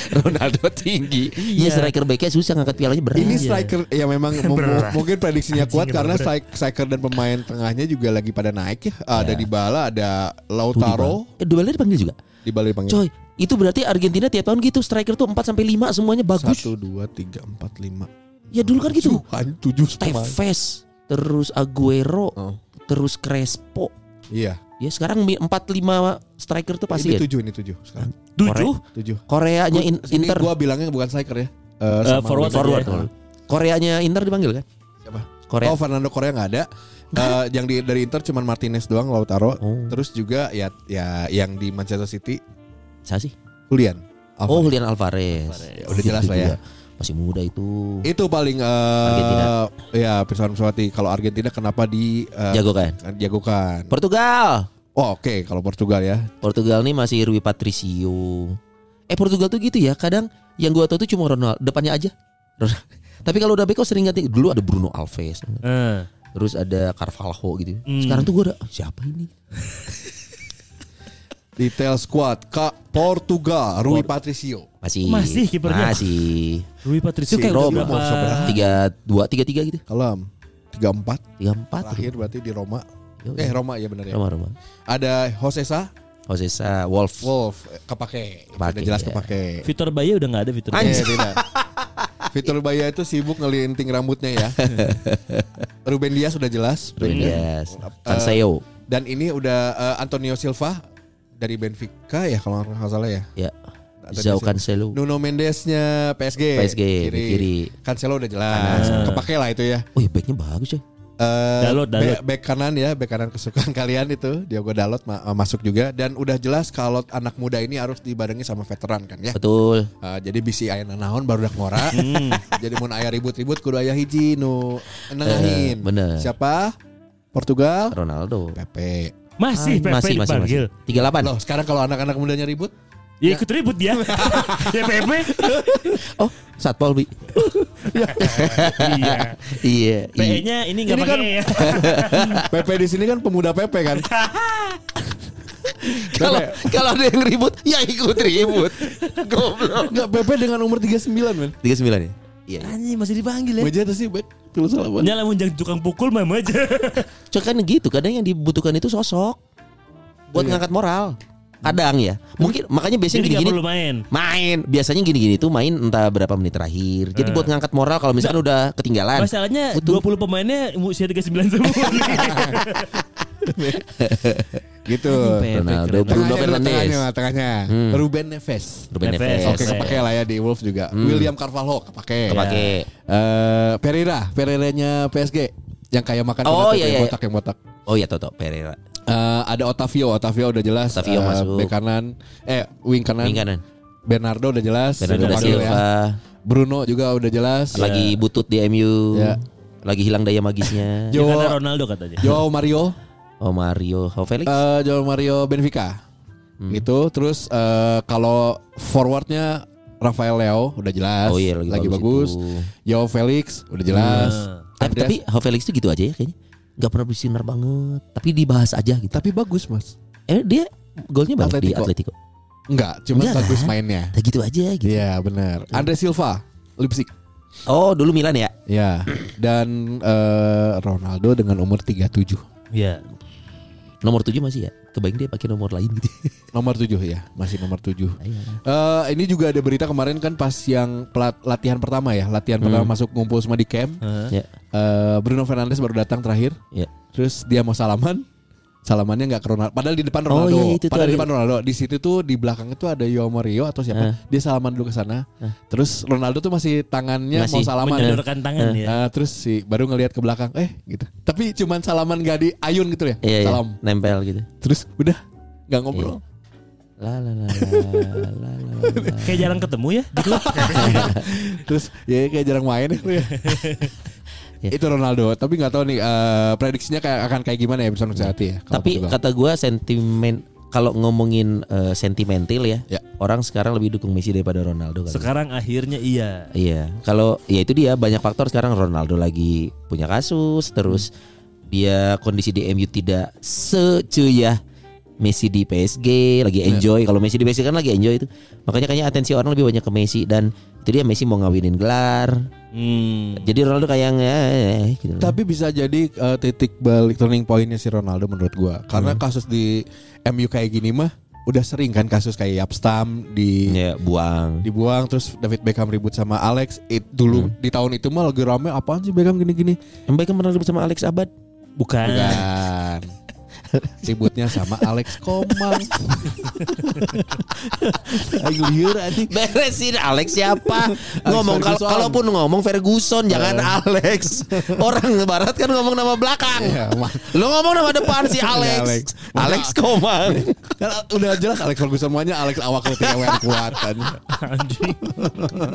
[SPEAKER 5] Ronaldo tinggi. Iya striker backnya susah ngangkat pialanya berat.
[SPEAKER 4] ini
[SPEAKER 5] Iya.
[SPEAKER 4] striker ya memang mu- mu-
[SPEAKER 3] Berat.
[SPEAKER 4] mungkin prediksinya kuat
[SPEAKER 3] Anjing,
[SPEAKER 4] karena
[SPEAKER 3] berat.
[SPEAKER 4] strik- striker dan pemain tengahnya juga lagi pada naik ya. Ada
[SPEAKER 5] Ya.
[SPEAKER 4] Dybala, ada
[SPEAKER 5] Tuh,
[SPEAKER 4] Lautaro, Iya.
[SPEAKER 5] Dybala. Eh Dybala dipanggil juga.
[SPEAKER 4] Dybala dipanggil.
[SPEAKER 5] Coy, itu berarti Argentina tiap tahun gitu striker tuh 4 sampai 5 semuanya bagus.
[SPEAKER 4] 1 2 3 4 5.
[SPEAKER 5] Ya dulu kan gitu.
[SPEAKER 4] Anjing 7 pemain.
[SPEAKER 5] Tevez, terus Aguero,
[SPEAKER 4] Oh.
[SPEAKER 5] terus Crespo.
[SPEAKER 4] Iya.
[SPEAKER 5] Ya sekarang 4 5 striker tuh pasti
[SPEAKER 4] ini
[SPEAKER 5] ya.
[SPEAKER 4] 7 ini 7 sekarang.
[SPEAKER 3] Tujuh.
[SPEAKER 4] 7.
[SPEAKER 5] Koreanya in-
[SPEAKER 4] Ini
[SPEAKER 5] Inter.
[SPEAKER 4] gua bilangnya bukan striker ya. Eh,
[SPEAKER 3] Eh,
[SPEAKER 4] sama
[SPEAKER 3] forward,
[SPEAKER 4] Wijaya.
[SPEAKER 3] forward.
[SPEAKER 5] ya. Koreanya Inter dipanggil kan?
[SPEAKER 4] Siapa?
[SPEAKER 5] Korea.
[SPEAKER 4] Oh Fernando Korea nggak ada. Eh, yang di, dari Inter cuman Martinez doang Lautaro.
[SPEAKER 5] Oh.
[SPEAKER 4] Terus juga ya ya yang di Manchester City
[SPEAKER 5] Siapa sih?
[SPEAKER 4] Julian.
[SPEAKER 5] Oh, Julian Alvarez.
[SPEAKER 4] Ya, udah jelas lah ya.
[SPEAKER 5] Juga. Masih muda itu.
[SPEAKER 4] Itu paling eh,
[SPEAKER 5] Argentina.
[SPEAKER 4] ya persoalan Suwati. Kalau Argentina kenapa di eh,
[SPEAKER 5] Jago kan?
[SPEAKER 4] jagokan?
[SPEAKER 5] Portugal.
[SPEAKER 4] Oh, Oke, kalau Portugal ya.
[SPEAKER 5] Portugal nih masih Rui Patricio. Eh Portugal tuh gitu ya, kadang yang gua tahu tuh cuma Ronaldo depannya aja. Ronaldo. Tapi kalau udah beko sering ganti dulu ada Bruno Alves,
[SPEAKER 3] Eh,
[SPEAKER 5] terus ada Carvalho gitu.
[SPEAKER 3] Hmm.
[SPEAKER 5] Sekarang tuh gua ada "Ah, siapa ini?
[SPEAKER 4] Detail squad Kak Portugal, Rui Patricio.
[SPEAKER 5] Masih
[SPEAKER 3] Masih kipernya.
[SPEAKER 5] Masih.
[SPEAKER 3] Rui Patricio
[SPEAKER 5] Si
[SPEAKER 3] kayak
[SPEAKER 5] Roma.
[SPEAKER 3] udah berapa?
[SPEAKER 5] Tiga dua tiga tiga gitu.
[SPEAKER 4] Kalau 34
[SPEAKER 5] Tiga empat.
[SPEAKER 4] terakhir berarti di Roma.
[SPEAKER 5] Yo,
[SPEAKER 4] Eh Roma ya benar ya.
[SPEAKER 5] Ah, Roma Roma.
[SPEAKER 4] Ada Josesa,
[SPEAKER 5] Jose Sa- Wolf.
[SPEAKER 4] Wolf, eh, kepake.
[SPEAKER 5] Kepake,
[SPEAKER 4] Udah jelas
[SPEAKER 5] ya.
[SPEAKER 4] kepake.
[SPEAKER 3] Vitor Baye udah nggak ada Vitor Baye.
[SPEAKER 4] Eh,
[SPEAKER 5] Anjing.
[SPEAKER 4] tidak. Vitor Baya itu sibuk ngelinting rambutnya ya. Ruben Dias sudah jelas.
[SPEAKER 5] Ruben Dias.
[SPEAKER 4] Eh,
[SPEAKER 5] Canseo.
[SPEAKER 4] Dan ini udah eh, Antonio Silva dari Benfica ya kalau nggak salah ya.
[SPEAKER 5] Ya.
[SPEAKER 4] Antonio
[SPEAKER 5] Zhao
[SPEAKER 4] Silva.
[SPEAKER 5] Cancelo.
[SPEAKER 4] Nuno Mendesnya PSG.
[SPEAKER 5] PSG di kiri.
[SPEAKER 4] Cancelo udah jelas. Kepake lah itu ya.
[SPEAKER 5] Oh ya backnya bagus ya.
[SPEAKER 4] Eh,
[SPEAKER 3] Dalot,
[SPEAKER 4] back-
[SPEAKER 3] Dalot.
[SPEAKER 4] back kanan ya, back kanan kesukaan kalian itu Diogo Dalot ma- eh, masuk juga dan udah jelas kalau anak muda ini harus dibarengi sama veteran kan ya.
[SPEAKER 5] Betul.
[SPEAKER 4] Uh, jadi bisi aya nanaon baru dak ngora.
[SPEAKER 5] Hmm.
[SPEAKER 4] jadi mun aya ribut-ribut kudu aya hiji nu nengahin.
[SPEAKER 5] Eh, bener.
[SPEAKER 4] Siapa? Portugal.
[SPEAKER 5] Ronaldo. Ah,
[SPEAKER 4] Pepe.
[SPEAKER 3] Masih Pepe
[SPEAKER 5] masih masih masih.
[SPEAKER 3] dipanggil.
[SPEAKER 5] 38.
[SPEAKER 4] Loh, sekarang kalau anak-anak mudanya ribut,
[SPEAKER 3] Ya ikut ribut dia. ya Pepe.
[SPEAKER 5] Oh, Satpol Bi.
[SPEAKER 3] Iya.
[SPEAKER 5] Iya. iya.
[SPEAKER 3] P-nya ini nggak
[SPEAKER 4] Ini
[SPEAKER 3] pakai
[SPEAKER 4] kan-
[SPEAKER 3] E ya.
[SPEAKER 4] Pepe di sini kan pemuda Pepe kan.
[SPEAKER 5] Kalau kalau ada yang ribut, ya ikut ribut. Goblok.
[SPEAKER 4] Enggak Pepe dengan umur 39, men.
[SPEAKER 5] 39 ya? Iya.
[SPEAKER 3] Anjing masih dipanggil ya.
[SPEAKER 4] Wajah tuh sih, bet. Pilih salah banget.
[SPEAKER 3] Nyala munjang tukang pukul mah aja.
[SPEAKER 5] Cuma kan gitu, kadang yang dibutuhkan itu sosok buat ngangkat moral. Kadang ya. Mungkin makanya biasanya
[SPEAKER 3] Jadi nggak
[SPEAKER 5] gini-gini
[SPEAKER 3] perlu main.
[SPEAKER 5] main. Biasanya gini-gini tuh main entah berapa menit
[SPEAKER 3] Eh.
[SPEAKER 5] terakhir. Jadi buat ngangkat moral kalau misalkan udah
[SPEAKER 3] Kan.
[SPEAKER 5] ketinggalan.
[SPEAKER 3] Masalahnya
[SPEAKER 5] Butuh.
[SPEAKER 3] 20 pemainnya usia 39 semua.
[SPEAKER 4] Gitu.
[SPEAKER 5] Nah,
[SPEAKER 4] Tengahnya
[SPEAKER 5] Ronaldo, Bruno
[SPEAKER 4] dulu,
[SPEAKER 5] Fernandes,
[SPEAKER 4] tengahnya, tengahnya. Ruben Neves.
[SPEAKER 5] hmm. Ruben
[SPEAKER 3] Neves.
[SPEAKER 5] Neves. Hmm.
[SPEAKER 4] Oke,
[SPEAKER 3] Neves.
[SPEAKER 4] kepake lah ya di Wolves juga. William Carvalho kepake.
[SPEAKER 5] Kepake.
[SPEAKER 4] Eh, Pereira, Pereiranya PSG yang kayak makan
[SPEAKER 5] Oh,
[SPEAKER 4] donat itu
[SPEAKER 5] iya,
[SPEAKER 4] yang
[SPEAKER 5] iya.
[SPEAKER 4] botak yang botak.
[SPEAKER 5] Oh iya Toto Pereira.
[SPEAKER 4] Eh, ada Otavio, Otavio udah jelas.
[SPEAKER 5] Otavio
[SPEAKER 4] Eh,
[SPEAKER 5] masuk.
[SPEAKER 4] Bek kanan, eh wing kanan.
[SPEAKER 5] Wing kanan.
[SPEAKER 4] Bernardo udah jelas.
[SPEAKER 5] kan? Bernardo
[SPEAKER 4] Udah
[SPEAKER 5] da
[SPEAKER 4] panggil
[SPEAKER 5] Silva.
[SPEAKER 4] Bruno juga udah jelas.
[SPEAKER 5] Lagi butut di MU.
[SPEAKER 4] Ya.
[SPEAKER 5] Lagi hilang daya magisnya.
[SPEAKER 4] Jo,
[SPEAKER 3] Karena Ronaldo katanya.
[SPEAKER 4] Joao Mario,
[SPEAKER 5] Oh Mario, oh Felix.
[SPEAKER 4] eh Joao Mario Benfica.
[SPEAKER 5] Hmm.
[SPEAKER 4] Gitu. Terus eh, kalau forwardnya Rafael Leo udah jelas.
[SPEAKER 5] Oh iya, lagi bagus
[SPEAKER 4] bagus.
[SPEAKER 5] itu. Nah,
[SPEAKER 4] Joao Felix udah jelas.
[SPEAKER 5] Eh, Tapi,
[SPEAKER 4] Andreas-
[SPEAKER 5] tapi Ho Felix tuh gitu aja ya kayaknya. Gak pernah bersinar banget. Tapi dibahas aja gitu.
[SPEAKER 4] tapi bagus mas.
[SPEAKER 5] Eh dia golnya banget di
[SPEAKER 4] Atletico.
[SPEAKER 5] Atletico.
[SPEAKER 4] Enggak, cuma
[SPEAKER 5] Enggak
[SPEAKER 4] bagus
[SPEAKER 5] kan?
[SPEAKER 4] mainnya.
[SPEAKER 5] Ya gitu aja gitu.
[SPEAKER 4] Iya benar. Andre Silva, Leipzig.
[SPEAKER 5] Oh, dulu Milan ya?
[SPEAKER 4] Ya. Dan eh, Ronaldo dengan umur 37.
[SPEAKER 3] Ya.
[SPEAKER 5] Nomor 7 masih ya? Kebayang dia pakai nomor lain gitu.
[SPEAKER 4] Nomor 7 ya, masih nomor 7.
[SPEAKER 5] Iya.
[SPEAKER 4] Eh ini juga ada berita kemarin kan pas yang pelat- latihan pertama ya, latihan
[SPEAKER 5] Hmm.
[SPEAKER 4] pertama masuk ngumpul semua di camp.
[SPEAKER 5] ya.
[SPEAKER 4] Eh, Bruno Fernandes baru datang terakhir.
[SPEAKER 5] Ya.
[SPEAKER 4] Terus dia mau salaman. Salamannya nggak ke Ronaldo. Padahal di depan
[SPEAKER 5] Oh,
[SPEAKER 4] Ronaldo.
[SPEAKER 5] iya, itu tuh
[SPEAKER 4] Padahal di
[SPEAKER 5] ada.
[SPEAKER 4] depan Ronaldo. Di situ tuh di belakangnya tuh ada Yo Mario atau siapa.
[SPEAKER 5] Ah.
[SPEAKER 4] Dia salaman dulu ke sana.
[SPEAKER 5] Ah.
[SPEAKER 4] Terus Ronaldo tuh masih tangannya mau
[SPEAKER 5] Masih Eh.
[SPEAKER 4] salaman.
[SPEAKER 3] Menyodorkan tangan ya.
[SPEAKER 4] Nah, terus si baru ngelihat ke belakang, eh gitu. Tapi cuman salaman gak di ayun gitu ya.
[SPEAKER 5] Iya, iya.
[SPEAKER 4] Salam.
[SPEAKER 5] Nempel gitu.
[SPEAKER 4] Terus udah nggak ngobrol.
[SPEAKER 5] La la la la la la la, la.
[SPEAKER 3] Kayak jarang ketemu ya di klub.
[SPEAKER 4] Terus ya kayak jarang main ya. lu ya.
[SPEAKER 5] Iya.
[SPEAKER 4] Itu Ronaldo, tapi nggak tahu nih eh, prediksinya kayak akan kayak gimana ya bersama hati ya. kalau
[SPEAKER 5] Tapi
[SPEAKER 4] Portugal.
[SPEAKER 5] kata gua sentimen kalau ngomongin eh, sentimental ya,
[SPEAKER 4] Ya.
[SPEAKER 5] orang sekarang lebih dukung Messi daripada Ronaldo kan.
[SPEAKER 3] Sekarang akhirnya iya.
[SPEAKER 5] Iya, kalau ya itu dia banyak faktor sekarang Ronaldo lagi punya kasus terus dia kondisi di MU tidak secuyah Messi di PSG lagi enjoy. Kalau Messi di PSG kan lagi enjoy itu. Makanya kayaknya atensi orang lebih banyak ke Messi dan itu dia Messi mau ngawinin gelar.
[SPEAKER 3] Hmm.
[SPEAKER 5] Jadi Ronaldo kayak eh, eh, gitu.
[SPEAKER 4] Tapi bisa jadi eh, titik balik turning pointnya si Ronaldo menurut gua. Karena kasus di MU kayak gini mah udah sering kan kasus kayak Yapstam di
[SPEAKER 5] ya buang.
[SPEAKER 4] dibuang terus David Beckham ribut sama Alex. It, dulu di tahun itu mah lagi rame apaan sih Beckham gini-gini.
[SPEAKER 5] Yang baik kan pernah ribut sama Alex Abad.
[SPEAKER 3] Bukan.
[SPEAKER 4] Eh. Bukan. Kan. Ributnya sama Alex Komang. Aing liur anjing.
[SPEAKER 5] Beresin Alex siapa? ngomong kalau
[SPEAKER 4] Ferguson. Eh.
[SPEAKER 5] kalaupun ngomong Ferguson jangan Alex. Orang barat kan ngomong nama belakang.
[SPEAKER 4] Iya, ma- Iya,
[SPEAKER 5] Lo ngomong nama depan si Alex.
[SPEAKER 4] Alex.
[SPEAKER 5] Alex. Komang.
[SPEAKER 4] Kan udah jelas Alex Ferguson semuanya Alex awak ketika kuatan.
[SPEAKER 3] Anjing.
[SPEAKER 4] kan.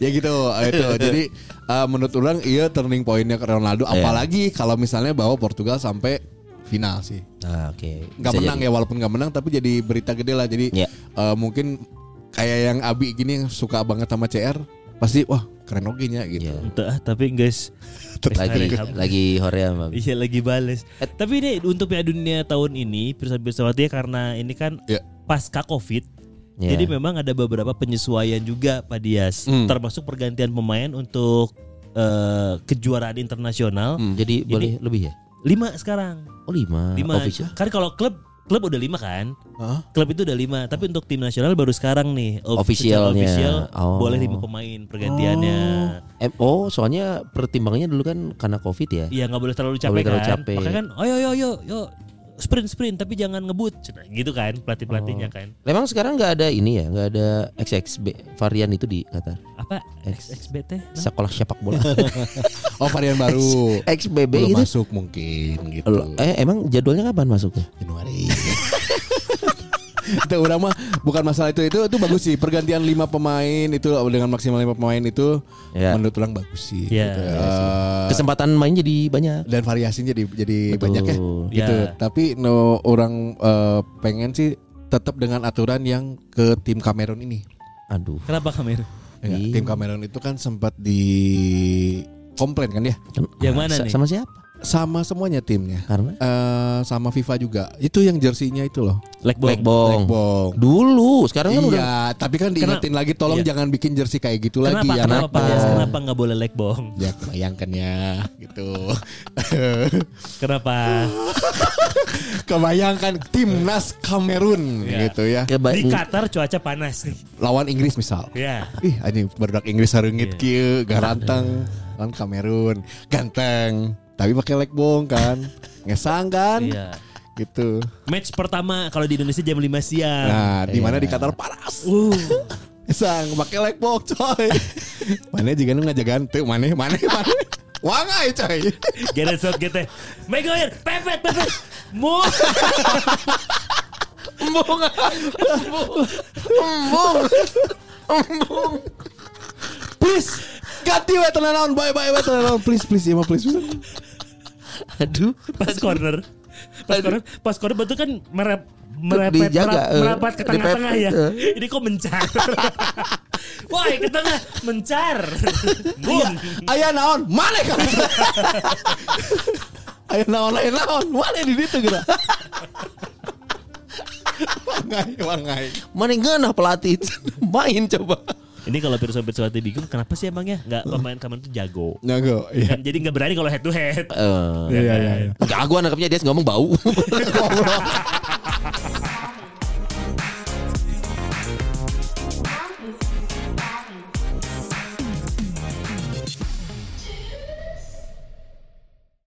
[SPEAKER 4] ya gitu itu. Jadi eh, menurut orang iya turning pointnya ke Ronaldo apalagi kalau misalnya bawa Portugal sampai final sih.
[SPEAKER 5] Nah, oke.
[SPEAKER 4] nggak menang ya walaupun nggak menang tapi jadi berita gede lah jadi
[SPEAKER 5] Iya.
[SPEAKER 4] eh, mungkin kayak yang Abi gini yang suka banget sama CR pasti wah keren oge nya gitu
[SPEAKER 5] Iya.
[SPEAKER 3] Entah, ah, tapi guys
[SPEAKER 5] Lagi
[SPEAKER 4] Iya.
[SPEAKER 3] Beckham.
[SPEAKER 5] lagi Korea sama.
[SPEAKER 3] Iya lagi bales. Tapi ini untuk Piala Dunia tahun ini, pirsa-pirsa mati karena ini kan
[SPEAKER 5] Ya.
[SPEAKER 4] Iya.
[SPEAKER 3] pasca Covid.
[SPEAKER 5] Iya.
[SPEAKER 3] Jadi memang ada beberapa penyesuaian juga Pak Dias,
[SPEAKER 5] Hmm.
[SPEAKER 3] termasuk pergantian pemain untuk eh, kejuaraan internasional.
[SPEAKER 5] Hmm, Jadi boleh lebih ya?
[SPEAKER 3] Lima sekarang.
[SPEAKER 5] Oh, lima.
[SPEAKER 3] Lima.
[SPEAKER 5] Official.
[SPEAKER 3] Kan kalau klub klub udah lima kan?
[SPEAKER 4] Hah?
[SPEAKER 3] Klub itu udah lima, tapi untuk tim nasional baru sekarang nih. Of-
[SPEAKER 5] Officialnya.
[SPEAKER 3] secara official
[SPEAKER 5] Oh.
[SPEAKER 3] boleh lima pemain pergantiannya.
[SPEAKER 5] Em, oh, soalnya pertimbangannya dulu kan karena Covid ya.
[SPEAKER 3] Iya nggak boleh terlalu
[SPEAKER 5] Nggak
[SPEAKER 3] capek
[SPEAKER 5] boleh terlalu
[SPEAKER 3] kan.
[SPEAKER 5] capek.
[SPEAKER 3] Makanya kan, ayo yo yo yo sprint sprint tapi jangan ngebut Cina, gitu kan pelatih pelatihnya kan.
[SPEAKER 5] Emang sekarang nggak ada ini ya, nggak ada XXB varian itu di Qatar.
[SPEAKER 3] Apa
[SPEAKER 5] X-
[SPEAKER 3] XBT?
[SPEAKER 5] Sekolah sepak bola.
[SPEAKER 4] oh varian baru
[SPEAKER 5] XBB
[SPEAKER 4] belum
[SPEAKER 5] gitu.
[SPEAKER 4] masuk mungkin gitu
[SPEAKER 5] Loh, eh emang jadwalnya kapan masuknya?
[SPEAKER 4] Januari itu udah mah bukan masalah itu itu itu bagus sih pergantian lima pemain itu dengan maksimal lima pemain itu
[SPEAKER 5] Ya.
[SPEAKER 4] menurut orang bagus sih
[SPEAKER 3] Iya.
[SPEAKER 4] gitu.
[SPEAKER 3] Iya
[SPEAKER 4] Eh,
[SPEAKER 5] Kesempatan main jadi banyak.
[SPEAKER 4] dan variasinya jadi jadi
[SPEAKER 5] Betul.
[SPEAKER 4] banyak ya gitu.
[SPEAKER 3] Ya.
[SPEAKER 4] Tapi no orang eh, pengen sih tetap dengan aturan yang ke tim Kamerun ini.
[SPEAKER 5] Aduh,
[SPEAKER 3] Kenapa Kamir?
[SPEAKER 4] Ya,
[SPEAKER 5] Iya.
[SPEAKER 4] Tim Kamerun itu kan sempat di komplain kan ya
[SPEAKER 5] kan-
[SPEAKER 3] Yang mana nih?
[SPEAKER 5] Sama siapa?
[SPEAKER 4] sama semuanya timnya.
[SPEAKER 5] Karena
[SPEAKER 4] Eh, sama FIFA juga. Itu yang jersinya itu loh.
[SPEAKER 3] Lekbong.
[SPEAKER 5] Blackbong.
[SPEAKER 4] Blackbong.
[SPEAKER 5] Dulu, sekarang kan udah
[SPEAKER 4] Iya, tapi kan diingetin lagi tolong
[SPEAKER 3] Iya.
[SPEAKER 4] jangan bikin jersey kayak gitu
[SPEAKER 3] Kenapa?
[SPEAKER 4] lagi ya.
[SPEAKER 3] kenapa Iya. Pak
[SPEAKER 4] Nak.
[SPEAKER 3] Dias? Kenapa nggak boleh lekbong?
[SPEAKER 4] Ya kebayangkan ya gitu.
[SPEAKER 3] Kenapa?
[SPEAKER 4] kebayangkan timnas Kamerun
[SPEAKER 3] Iya.
[SPEAKER 4] gitu ya.
[SPEAKER 5] keba-
[SPEAKER 3] Di Qatar cuaca panas nih.
[SPEAKER 4] Lawan Inggris misal.
[SPEAKER 3] Ya.
[SPEAKER 4] Ih anjing berdak Inggris hareungit kieu garanteng kan Kamerun ganteng tapi pakai leg bong kan ngesang kan
[SPEAKER 3] Iya.
[SPEAKER 4] gitu
[SPEAKER 3] Match pertama kalau di Indonesia jam 5 siang.
[SPEAKER 4] nah di mana di Qatar panas
[SPEAKER 3] Uh,
[SPEAKER 4] ngesang pakai leg bong coy mana juga nu ngajagaan teu mana mana mana wangai coy
[SPEAKER 3] Gareth Southgate. Maguire, pepet, pepet. Mu.
[SPEAKER 4] please ganti we tenan naon bye bye we tenan naon please please ya mah please
[SPEAKER 5] aduh,
[SPEAKER 3] Pas corner. Pas corner, pas corner betul kan merep merepet
[SPEAKER 5] Dijaga,
[SPEAKER 3] merap-
[SPEAKER 5] eh.
[SPEAKER 3] merapat ke tengah-tengah ya.
[SPEAKER 5] Dipepet,
[SPEAKER 3] Ini kok mencar. Woi, ke tengah mencar.
[SPEAKER 5] Iya.
[SPEAKER 3] Boom.
[SPEAKER 4] aya naon mana kan aya naon aya naon mana di ditu
[SPEAKER 5] gitu.
[SPEAKER 4] geura wangai wangai
[SPEAKER 5] mana yang ngeunah pelatih main coba.
[SPEAKER 3] Ini kalau pirsa-pirsa hati bingung kenapa sih emangnya nggak pemain Kamen itu jago.
[SPEAKER 4] Nago. Iya.
[SPEAKER 5] Ya.
[SPEAKER 3] Kan jadi nggak berani kalau head to head.
[SPEAKER 5] Eh,
[SPEAKER 4] Iya iya iya.
[SPEAKER 5] Enggak, gue nangkepnya dia ngomong bau.